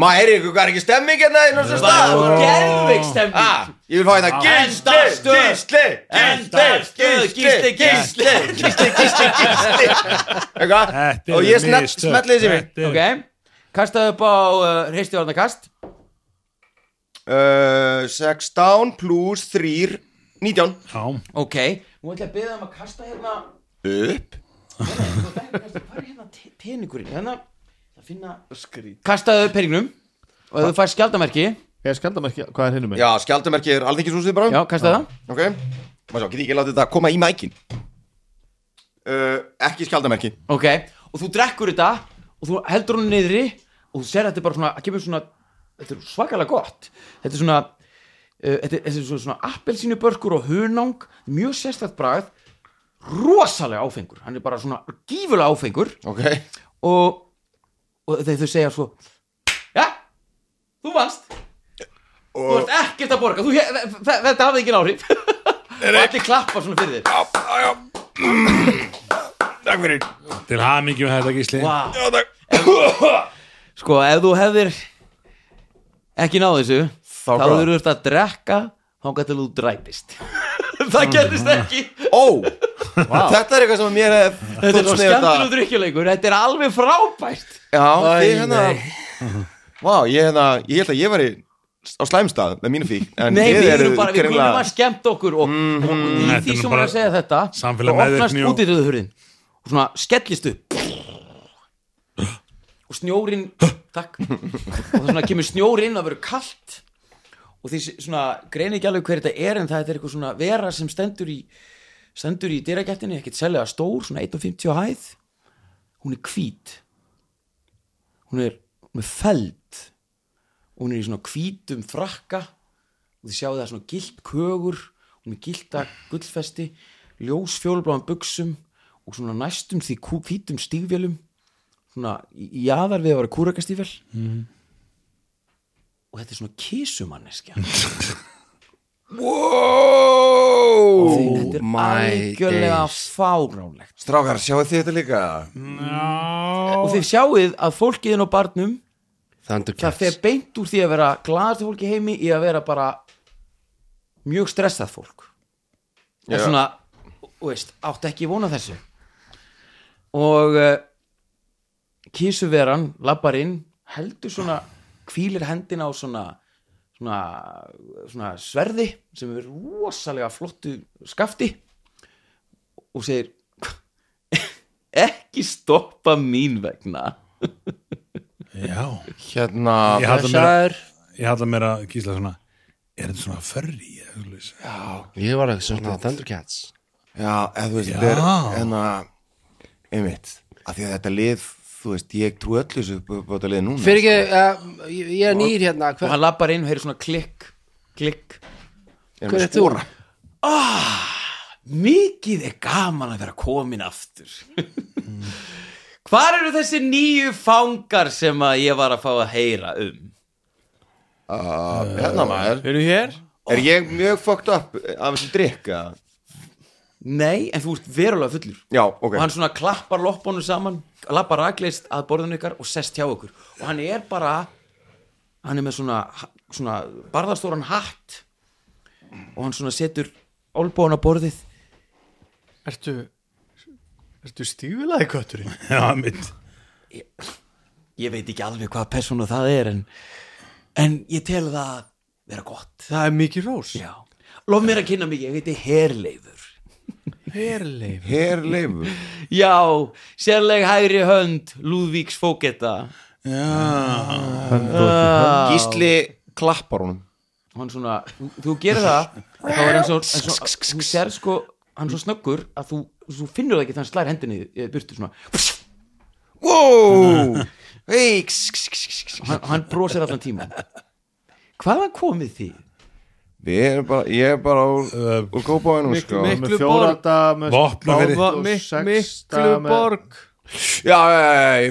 [SPEAKER 1] Maður, heyri ykkur, hvað er ekki stemming hérna inn á þessu stað?
[SPEAKER 3] Það er gerðveik
[SPEAKER 1] Ah,
[SPEAKER 3] stemning
[SPEAKER 1] Ég vil fá þetta Gísli,
[SPEAKER 3] Endastöð.
[SPEAKER 1] Gísli, Gísli,
[SPEAKER 3] Endastöð, Gísli,
[SPEAKER 1] Gísli, Gísli, Gísli, Gísli, Gísli Eitthvað?
[SPEAKER 8] Þetta er
[SPEAKER 1] Og ég smet-
[SPEAKER 8] mistök.
[SPEAKER 1] smetli þessi mig
[SPEAKER 8] Þetta er-
[SPEAKER 3] Ok, kastaðu upp á uh, reistjórnarkast
[SPEAKER 1] Uh, 16 pluss 3 19
[SPEAKER 8] Já,
[SPEAKER 3] Ok, nú ætla ég að beða um að kasta hérna
[SPEAKER 1] upp
[SPEAKER 3] Þú ætla ekki að kasta- Hvar er hérna te- peningurinn? Hérna, það finna Skrít Kastaðu upp peningnum Og ef þú fær skjaldamerki
[SPEAKER 6] Ég skaldar mér ekki Hvað er hinnum með?
[SPEAKER 1] Já, skjaldamerki er alþingishúsið bara
[SPEAKER 3] Já, kastaðu það
[SPEAKER 1] Ok Má sjá, get ég ekki látið þetta að koma í mækin uh, Ekki skjaldamerki
[SPEAKER 3] Ok, og þú drekkur þetta Og þú heldur hún niðri og þú sér þetta er bara svona, það kemur svona þetta er svakalega gott þetta er svona, uh, þetta er, þetta er svona, svona appelsínubörkur og hunang mjög sérstætt bragð rosalega áfengur, hann er bara svona gífulega áfengur
[SPEAKER 1] ok,
[SPEAKER 3] og, og þegar þau segja svo ja, þú vannst þú vannst ekkert að borga þú, hé- þe- þe- þetta hafði engin áhrif og allir klappa svona fyrir þér
[SPEAKER 1] takk fyrir
[SPEAKER 8] Til hamingjum þetta gísli
[SPEAKER 3] wow.
[SPEAKER 1] Já, takk.
[SPEAKER 3] sko, ef þú hefðir ekki náð þessu þá
[SPEAKER 1] hvað?
[SPEAKER 3] þurfur þetta að drekka þá gæti þú dræpist það gerðist ekki
[SPEAKER 1] Ó, þetta er eitthvað sem mér hef
[SPEAKER 3] þetta er svo skemmtilega drikkjuleikur þetta er alveg frábært
[SPEAKER 1] Já, þið hérna Vá, ég hérna, ég held að ég væri á slæmstað með mínu fík en
[SPEAKER 3] Nei,
[SPEAKER 1] þið
[SPEAKER 3] við erum
[SPEAKER 1] eruð
[SPEAKER 3] bara, við
[SPEAKER 1] greinilega-
[SPEAKER 3] kunum að skemmt okkur og, og í
[SPEAKER 8] Þetta
[SPEAKER 3] því
[SPEAKER 8] er nú
[SPEAKER 3] sem hún er
[SPEAKER 8] bara
[SPEAKER 3] að segja þetta
[SPEAKER 8] samfélag
[SPEAKER 3] þá opnast
[SPEAKER 8] meðvirkni og-
[SPEAKER 3] útidöðuhurðin og svona skellist upp og snjórin takk og það svona kemur snjórin að vera kalt og því svona greini ekki alveg hver þetta er en það er eitthvað svona vera sem stendur í stendur í dyragættinni, ekkert selja stór svona 1.50 á hæð hún er hvít hún er með feld og hún er í svona hvítum frakka og þið sjáu það svona gilt kögur hún er gilta gullfesti ljós fjólubláðan buksum og svona næstum því kú- hvítum stígvélum svona í í jaðar við að vera kúrakastígvél
[SPEAKER 2] Mhm.
[SPEAKER 3] og þetta er svona kísumanneskja wow og því, þetta er
[SPEAKER 2] Oh my
[SPEAKER 3] algjörlega
[SPEAKER 2] days.
[SPEAKER 3] fáránlegt
[SPEAKER 1] Strákar, sjáu þið þetta líka?
[SPEAKER 3] og þið sjáuð að fólkiðin og barnum það fer
[SPEAKER 2] Thundercats
[SPEAKER 3] beint úr því að vera glaðast fólki í heimi í að vera bara mjög stressað fólk það er
[SPEAKER 1] Já.
[SPEAKER 3] svona, þú veist, átt ekki vona þessu og uh, kísuveran labbar inn, heldur svona hvílir hendina á svona svona, svona sverði sem er rosalega flottu skafti og segir ekki stoppa mín vegna
[SPEAKER 8] Já
[SPEAKER 1] Hérna,
[SPEAKER 8] Ég halla mér, ég halla mér að gísla svona Er þetta svona furry? eða svoleiðis?
[SPEAKER 2] Ég var ekki svona Thundercats
[SPEAKER 1] já, eða þú veist,
[SPEAKER 8] Já.
[SPEAKER 1] þetta er hérna, einmitt að því að þetta lið, þú veist, ég trú öllu þessu upp upp á þetta lið núna
[SPEAKER 2] Fyrir ekki, uh, ég ég er nýr hérna
[SPEAKER 3] og
[SPEAKER 2] Hver,
[SPEAKER 3] hann lappar inn og heyrir svona klikk klikk
[SPEAKER 1] Erum
[SPEAKER 2] hver
[SPEAKER 1] við
[SPEAKER 2] er þú?
[SPEAKER 1] skora?
[SPEAKER 3] mikið er gaman að vera komin aftur hvar eru þessi nýju fangar sem að ég var að fá að heyra um
[SPEAKER 1] Hérna maður,
[SPEAKER 5] Eru hér?
[SPEAKER 1] er ég mjög fucked up af þessum drikk? eða?
[SPEAKER 3] nei en þú ert verulega fullur
[SPEAKER 1] Já, ok,
[SPEAKER 3] og hann svona klappar loppunum saman lappar rakleist að borðinu ykkar og sest hjá ykkur og hann er bara hann er með svona, svona barðastóran hatt og hann svona setur olbóðan á borðið
[SPEAKER 5] Ertu Ertu stífilaði kötturinn?
[SPEAKER 8] Já, mitt
[SPEAKER 3] ég veit ekki alveg hvað persónu það er en, en ég tel það vera gott
[SPEAKER 5] Það er mikið rós
[SPEAKER 3] Já, lof mér að kynna mig, ég heiti Herleifur
[SPEAKER 5] Herleif
[SPEAKER 1] hér leifur
[SPEAKER 3] Já, sérleg hægri hönd Lúðvíks fóketta
[SPEAKER 1] Gísli klappar honum
[SPEAKER 3] Hann svona, þú- þú gerir það þá er eins og, eins og þú sér sko, hann er svo snöggur að þú, þú finnur það ekki þannig hann slær hendinni í- í burtu svona
[SPEAKER 1] Wow, hei, kss, kss, kss, kss, kss.
[SPEAKER 3] hann, hann brosir allan tíma Hvaðan komið því?
[SPEAKER 1] Við erum bara, ég er bara úr, úr kópáinum sko
[SPEAKER 5] miklu-
[SPEAKER 6] með
[SPEAKER 5] Miklu borg.
[SPEAKER 6] fjóranda með
[SPEAKER 8] Vopnafirði.
[SPEAKER 6] bát og
[SPEAKER 5] Mik,
[SPEAKER 6] sexta
[SPEAKER 5] Miklu
[SPEAKER 6] með-
[SPEAKER 5] borg
[SPEAKER 1] Já, já, já,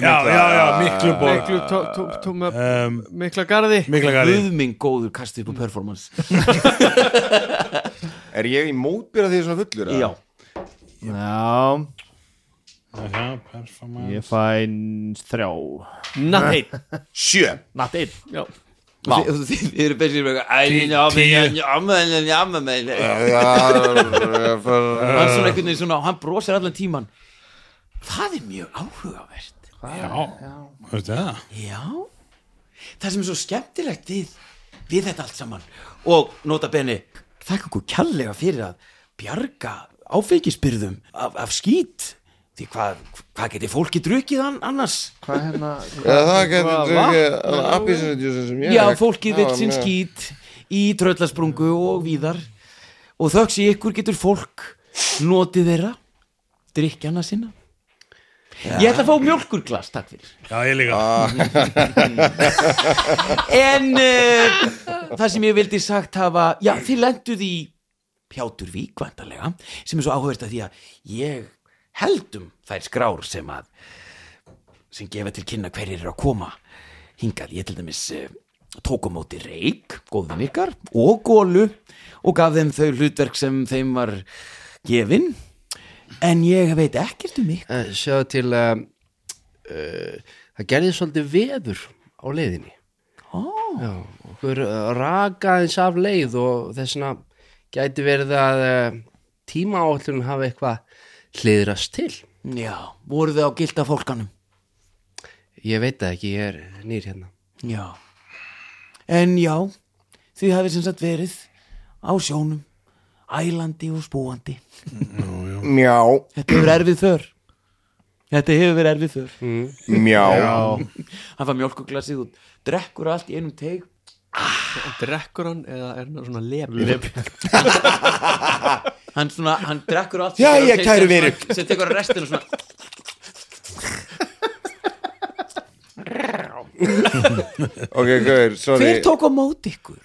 [SPEAKER 8] Já,
[SPEAKER 1] já, ég myndi
[SPEAKER 8] já,
[SPEAKER 1] að-
[SPEAKER 8] já, miklu bóð
[SPEAKER 5] Miklu tó, tó, tó, tó,
[SPEAKER 4] Eh,
[SPEAKER 8] um,
[SPEAKER 5] Mikla garði
[SPEAKER 8] Mikla gæri
[SPEAKER 3] Guð minn góður kastið upp á performance
[SPEAKER 1] Er ég í mótbyrða því svona fullur? eða?
[SPEAKER 3] Já,
[SPEAKER 6] já,
[SPEAKER 8] Performance
[SPEAKER 6] ég fæ þrjá
[SPEAKER 5] Not eight
[SPEAKER 1] Sjö
[SPEAKER 6] natt einn
[SPEAKER 5] Já
[SPEAKER 3] Og þið- og þið þið eru bestir með eitthvað
[SPEAKER 1] Já, já, já,
[SPEAKER 3] hann svona einhvern veginn svona og hann brosir allan tíman það er mjög áhugavert
[SPEAKER 8] Já, veistu það?
[SPEAKER 3] já það sem er svo skemmtilegt við við þetta allt saman og nota beni þakka okkur kjallega fyrir að bjarga áfengisbyrðum af, af skýt því hvað hva geti fólki drukkið an, annars
[SPEAKER 6] hvað hérna
[SPEAKER 1] já Það getur drukkið Abísinutjúsin sem ég
[SPEAKER 3] já fólkið vill sinn
[SPEAKER 1] mjög-
[SPEAKER 3] skýt í tröllasprungu og víðar og þöggs í ykkur getur fólk notið þeirra drikkjana sinna Ég ætla að fá mjólkurglas, takk fyrir
[SPEAKER 8] Já, ég líka
[SPEAKER 3] Ah, En uh, það sem ég vildi sagt hafa Já, þið lenduð í Pjáturvík, vantarlega sem er svo áhverst að því að ég heldum þær skrár sem að sem gefa til kynna hverjir eru að koma hingað, ég til dæmis uh, tók á móti reik, góðin ykkar og gólu og gaf þeim þau hlutverk sem þeim var gefin en ég veit ekkert um ykkur
[SPEAKER 2] Eh, Sjáðu til um, uh, það gerði svolítið veður á leiðinni
[SPEAKER 3] oh.
[SPEAKER 2] Já, okkur eh, rakaðins af leið og þessna gæti verið að uh, tímaáallun hafa eitthvað hliðrast til
[SPEAKER 3] Já, voru þau á gilda fólkanum
[SPEAKER 2] Ég veit það ekki, ég er nýr hérna
[SPEAKER 3] Já En já, þið hafið sem sagt verið á sjónum ælandi og spúandi
[SPEAKER 1] Mjá,
[SPEAKER 3] Þetta hefur verið erfið för Þetta hefur verið erfið för
[SPEAKER 1] mjá
[SPEAKER 3] Hann fann mjólkuglasið og drekkur allt í einum teig
[SPEAKER 5] Drekkur hann eða er hann svona lep? Lep
[SPEAKER 3] Hann, svona, hann drekkur allt
[SPEAKER 1] Jæja, kæru vinur.
[SPEAKER 3] Sem tekur restinu svona
[SPEAKER 1] Ok, gauður, sorry
[SPEAKER 3] Hver tók á móti ykkur?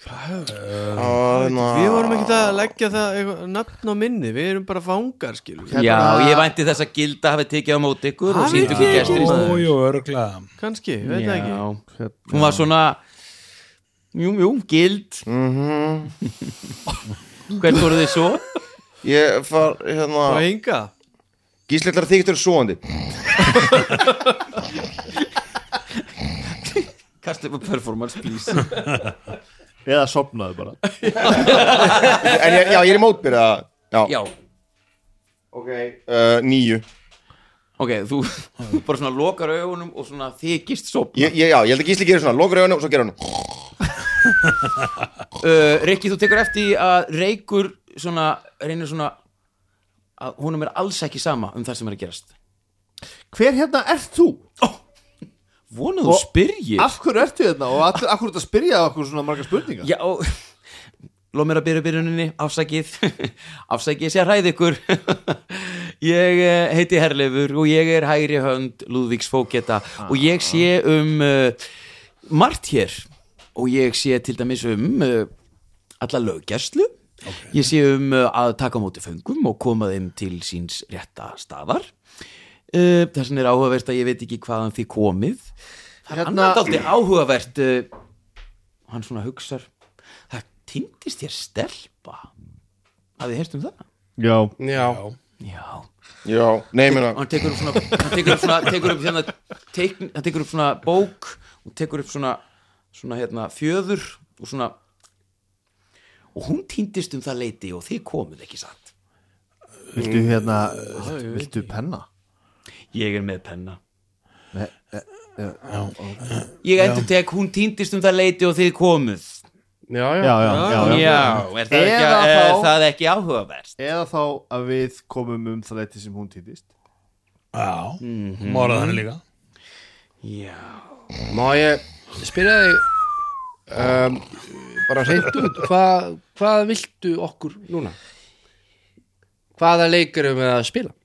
[SPEAKER 1] hérna.
[SPEAKER 5] Við vorum ekkert að leggja það eitthvað, nafn á minni, við erum bara fangar skilur við.
[SPEAKER 3] Já, ég vænti þess að gilda hafi tekið á móti ykkur og
[SPEAKER 5] Hafið
[SPEAKER 3] sýndu ykkur
[SPEAKER 5] tekið?
[SPEAKER 3] gestir í staðinn.
[SPEAKER 8] Ójú, örgla
[SPEAKER 5] Kanski, ég veit það ekki
[SPEAKER 3] Já, hún var svona Jú, jú, gild Mhm. Hvern voru þið svo?
[SPEAKER 1] Ég far, hérna
[SPEAKER 5] Og hinga
[SPEAKER 1] Gísli ætlar að þykja þér svoandi
[SPEAKER 3] Kastu upp að performance, please
[SPEAKER 6] eða sopnaðu bara
[SPEAKER 1] En ég, já, ég er í mótbyrða Já,
[SPEAKER 3] Já,
[SPEAKER 1] ok uh, Nýju
[SPEAKER 3] ok, þú bara svona lokar augunum og svona þykist sopna
[SPEAKER 1] ég, ég, Já, ég held að Gísli gerir svona, lokur auðan og svo gerir hann
[SPEAKER 3] uh, Rikki, þú tekur eftir að reykur svona, reynir svona að honum er alls ekki sama um það sem er að gerast
[SPEAKER 6] hver hérna ert þú?
[SPEAKER 3] Vonuðu
[SPEAKER 6] Og-
[SPEAKER 3] spyrjir
[SPEAKER 6] af hverju ertu hérna og allir, af hverju þetta spyrjaði okkur svona marga spurningar
[SPEAKER 3] Já, og Lóð mér að byrja byrjuninni, afsakið Afsakið, ég sé að hræði ykkur Ég eh, heiti Herleifur og ég er hægri hönd Lúðvíks fóketa og ég sé um uh, margt hér og ég sé til dæmis um uh, alla löggjæslu Ég sé um uh, að taka á móti föngum og koma þeim til síns rétta staðar uh, Þessan er áhugavert að ég veit ekki hvaðan þið komið Það er
[SPEAKER 6] Hérna-
[SPEAKER 3] annar dálti áhugavert uh, hann svona hugsar það týndist þér stelpa að þið heyrst um það
[SPEAKER 6] já,
[SPEAKER 3] já
[SPEAKER 2] Já,
[SPEAKER 3] og
[SPEAKER 1] Já, nei, ég meina
[SPEAKER 3] hann tekur upp svona hann tekur upp, svona, tekur upp, hérna, teikn, hann tekur upp svona bók og tekur upp svona, svona hérna, fjöður og svona og hún týndist um það leiti og þið komuð ekki satt
[SPEAKER 6] viltu hérna viltu penna?
[SPEAKER 3] ég er með penna
[SPEAKER 6] Nei,
[SPEAKER 3] ég endur tek hún týndist um það leiti og þið komuð
[SPEAKER 2] já, já,
[SPEAKER 6] já, já, já, já.
[SPEAKER 3] já, er það, ekki,
[SPEAKER 6] Eða
[SPEAKER 3] er
[SPEAKER 6] þá-
[SPEAKER 3] það ekki áhugavert
[SPEAKER 6] eða þá að við komum um það leiti sem hún týndist
[SPEAKER 8] Já, morðað
[SPEAKER 3] mm.
[SPEAKER 8] hann líka
[SPEAKER 3] já
[SPEAKER 2] Má ég spyrja þig um, bara hreint út hvað, hvað viltu okkur núna? Hvaða leikar erum við að spila?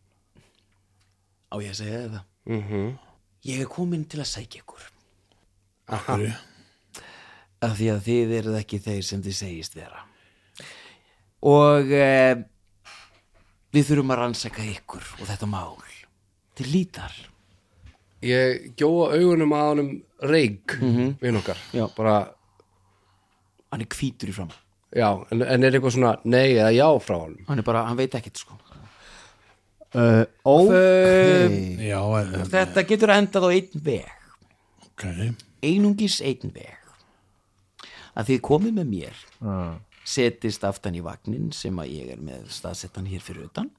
[SPEAKER 3] á ég að segja þér það
[SPEAKER 2] Mhm.
[SPEAKER 3] ég er komin til að sækja ykkur
[SPEAKER 8] Hverju?
[SPEAKER 3] af því að þið eruð ekki þeir sem þið segist vera og eh, við þurfum að rannsaka ykkur og þetta mál þið lítar
[SPEAKER 2] Ég gjóa augunum að honum reik mm -hmm. við nokkar
[SPEAKER 3] Já.
[SPEAKER 2] bara,
[SPEAKER 3] hann er hvítur í fram
[SPEAKER 2] já, en, en er eitthvað svona nei eða já frá honum
[SPEAKER 3] hann er bara, hann veit ekkert sko
[SPEAKER 6] uh, ok
[SPEAKER 8] Já, en-
[SPEAKER 3] þetta getur endað á einn veg
[SPEAKER 8] ok
[SPEAKER 3] einungis einn veg að þið komið með mér
[SPEAKER 6] Ah.
[SPEAKER 3] setist aftan í vagnin sem að ég er með staðsettan hér fyrir utan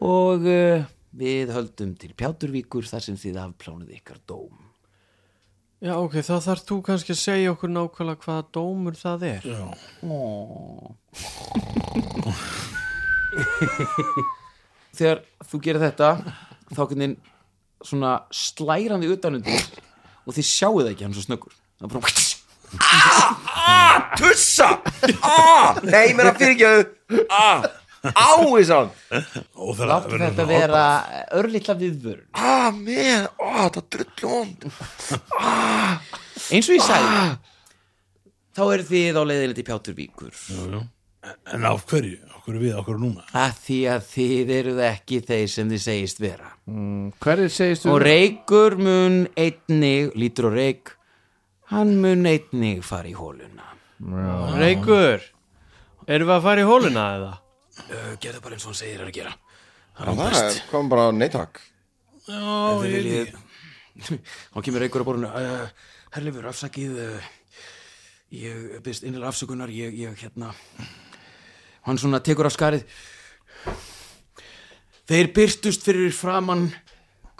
[SPEAKER 3] og uh, við höldum til Pjáturvíkur þar sem þið afplánuð ykkar dóm
[SPEAKER 5] Já ok, þá þarf þú kannski að segja okkur nákvæmlega hvaða dómur það er
[SPEAKER 3] þegar þú gerir þetta þá hvernig svona slærandi utanundir og þið sjáu það ekki hann er svo snöggur það er bara
[SPEAKER 1] Tussa! Ah, nei, ég meina fyrirgjöðu ah, Ái sá
[SPEAKER 8] Óþægilega,
[SPEAKER 3] Láttu
[SPEAKER 8] verður
[SPEAKER 3] þetta
[SPEAKER 8] svona
[SPEAKER 3] vera örlítla viðvörun
[SPEAKER 1] Ah, með, ó, það drullu ond
[SPEAKER 3] Eins og ég sagði Þá eru þið á leiðilegt í Pjáturvíkur
[SPEAKER 8] horfa- En af hverju, af hverju við, af hverju núna
[SPEAKER 3] að Því að þið eruð ekki þeir sem þið segist vera
[SPEAKER 6] Hverju segist þú?
[SPEAKER 3] Og reykur mun einnig Lítur og reyk Hann mun einnig fara í hóluna
[SPEAKER 5] Reykur, erum við að fara í hóluna eða?
[SPEAKER 3] Gerðu bara eins og hann segir er að gera
[SPEAKER 1] Það kom bara neittak
[SPEAKER 3] Þið viljið Þá kemur reykur á borðinu uh, Herleifur, afsakið uh, Ég byrst innlega afsökunar Ég, ég hérna Hann svona tekur af skarið Þeir byrtust fyrir framann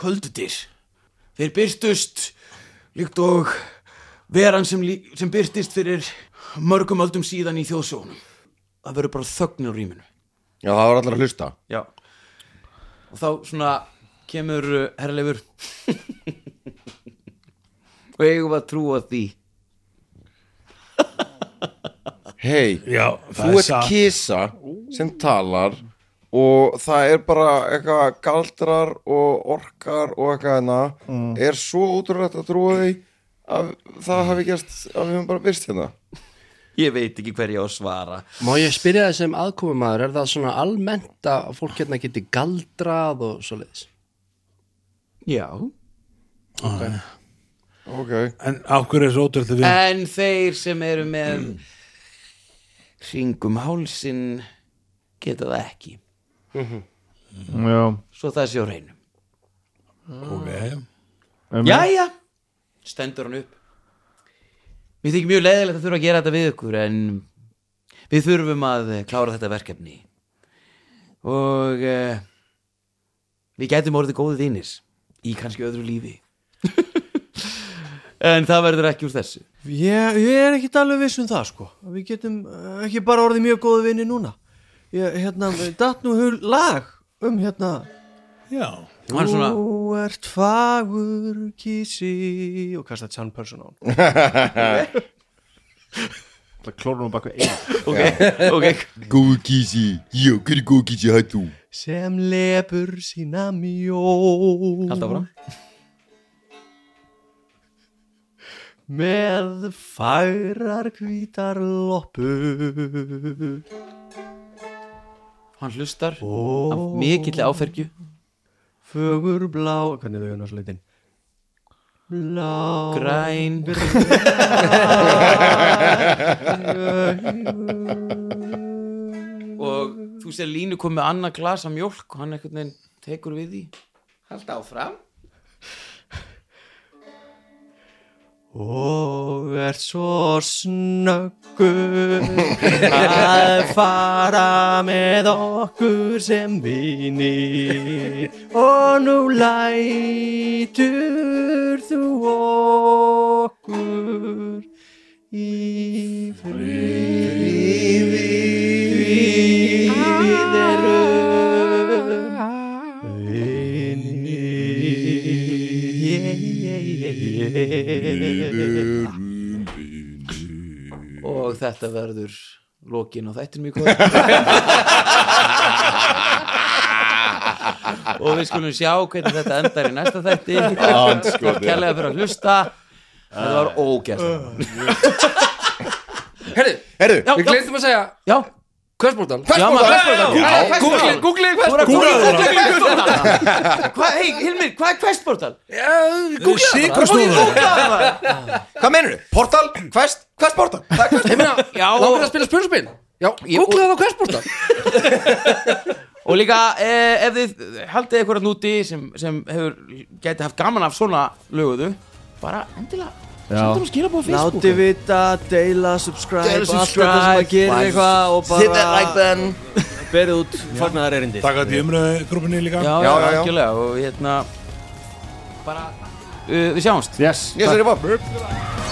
[SPEAKER 3] Köldudyr Þeir byrtust Líkt og veran sem, lí- sem byrtist fyrir Mörgum öldum síðan í þjóðsjónum Það verður bara þögn á rýminu
[SPEAKER 1] Já, það var allar að hlusta
[SPEAKER 3] Já Og þá svona kemur uh, herrleifur Og eigum að trúa því
[SPEAKER 1] Hei,
[SPEAKER 8] Já,
[SPEAKER 1] þú ert kisa sem talar og það er bara eitthvað galdrar og orkar og eitthvað hérna er svo ótrúrætt að trúa því að það hafi gerst að við höfum bara byrst hérna
[SPEAKER 3] Ég veit ekki hverja á að svara
[SPEAKER 2] Má ég spyrja þessum aðkomumæður, er það svona almennt að fólk hérna geti galdrað og svoleiðis?
[SPEAKER 3] Já
[SPEAKER 1] Ok,
[SPEAKER 8] En af hverju er svo ótrúlega við
[SPEAKER 3] En þeir sem eru með Hringum hálsin um Geta það ekki
[SPEAKER 6] Já,
[SPEAKER 3] Svo það sé á reynum Eh.
[SPEAKER 8] Ok,
[SPEAKER 6] um,
[SPEAKER 3] Jæja Stendur hann upp Mér þykir mjög leiðilegt að þurfa að gera þetta við ykkur En við þurfum að klára þetta verkefni Og uh, Við gætum orðið góðið þínis Í kannski öðru lífi En það verður ekki úr þessu
[SPEAKER 5] Ég, ég er ekkit alveg viss um það sko Við getum eh, ekki bara orðið mjög góðu vinni núna Ég, hérna, datt nú hul lag um hérna
[SPEAKER 8] já
[SPEAKER 3] Og Hann svona
[SPEAKER 5] Þú ert fagur kísi Og kastar John Person á hann
[SPEAKER 6] það klórar nú bak við einu
[SPEAKER 1] góð kísi, já, hver er góð kísi hættu?
[SPEAKER 5] Sem lepur sína mjó
[SPEAKER 3] Halda áfram.
[SPEAKER 5] Með færar hvítar loppur
[SPEAKER 3] Hann hlustar
[SPEAKER 5] Ó.
[SPEAKER 3] af mikill áfergju
[SPEAKER 5] Fögur blá Hvernig þau hérna svo leitin? Blá
[SPEAKER 3] Græn Og þú sér Línu kom með annað glasa mjólk og hann einhvern veginn tekur við því Halda áfram
[SPEAKER 5] Og er svo snöggur að fara með okkur sem vini og nú lætur þú okkur í friði við erum
[SPEAKER 3] Og þetta verður lokin og þættir mjög góð Og við skulum sjá hvernig þetta endar í næsta þætti
[SPEAKER 1] Andskotinn.
[SPEAKER 3] Kærlega fyrir að hlusta Þetta var ógæst
[SPEAKER 2] Herri,
[SPEAKER 1] Herru,
[SPEAKER 2] já,
[SPEAKER 1] við
[SPEAKER 2] við
[SPEAKER 1] gleymdum
[SPEAKER 2] gleymtum að segja
[SPEAKER 3] Já,
[SPEAKER 2] Hversbóttan
[SPEAKER 3] já maður fæstbóttan
[SPEAKER 2] Googlið, googlið
[SPEAKER 3] Google questportal Hvað, hei, Hilmir, hvað er questportal?
[SPEAKER 8] Sigurstofur
[SPEAKER 1] Hvað menur þið? Portal? Quest? Quest portal? Það er quest
[SPEAKER 3] Já,
[SPEAKER 2] Langar að spila spurnspil? Já, googlið það á hversbóttan
[SPEAKER 3] og líka eh, ef þið haldið eitthvað núti sem, sem hefur, gæti haft gaman af svona löguðu, bara endilega sendur hún skilabóð á Facebook
[SPEAKER 5] Láti vita, deila, subscribe,
[SPEAKER 3] Deila,
[SPEAKER 5] allt þetta sem
[SPEAKER 3] subscribe,
[SPEAKER 5] að gera
[SPEAKER 3] like,
[SPEAKER 5] eitthvað og
[SPEAKER 1] Hit that like
[SPEAKER 5] bara
[SPEAKER 1] button
[SPEAKER 5] berið út fagnaðar erindi
[SPEAKER 8] Takk að því umröðu grúpinni líka
[SPEAKER 3] já, já,
[SPEAKER 1] Já, já, já.
[SPEAKER 3] algjörlega og hérna bara, uh, við sjáumst
[SPEAKER 6] Yes,
[SPEAKER 1] Yes, það er bara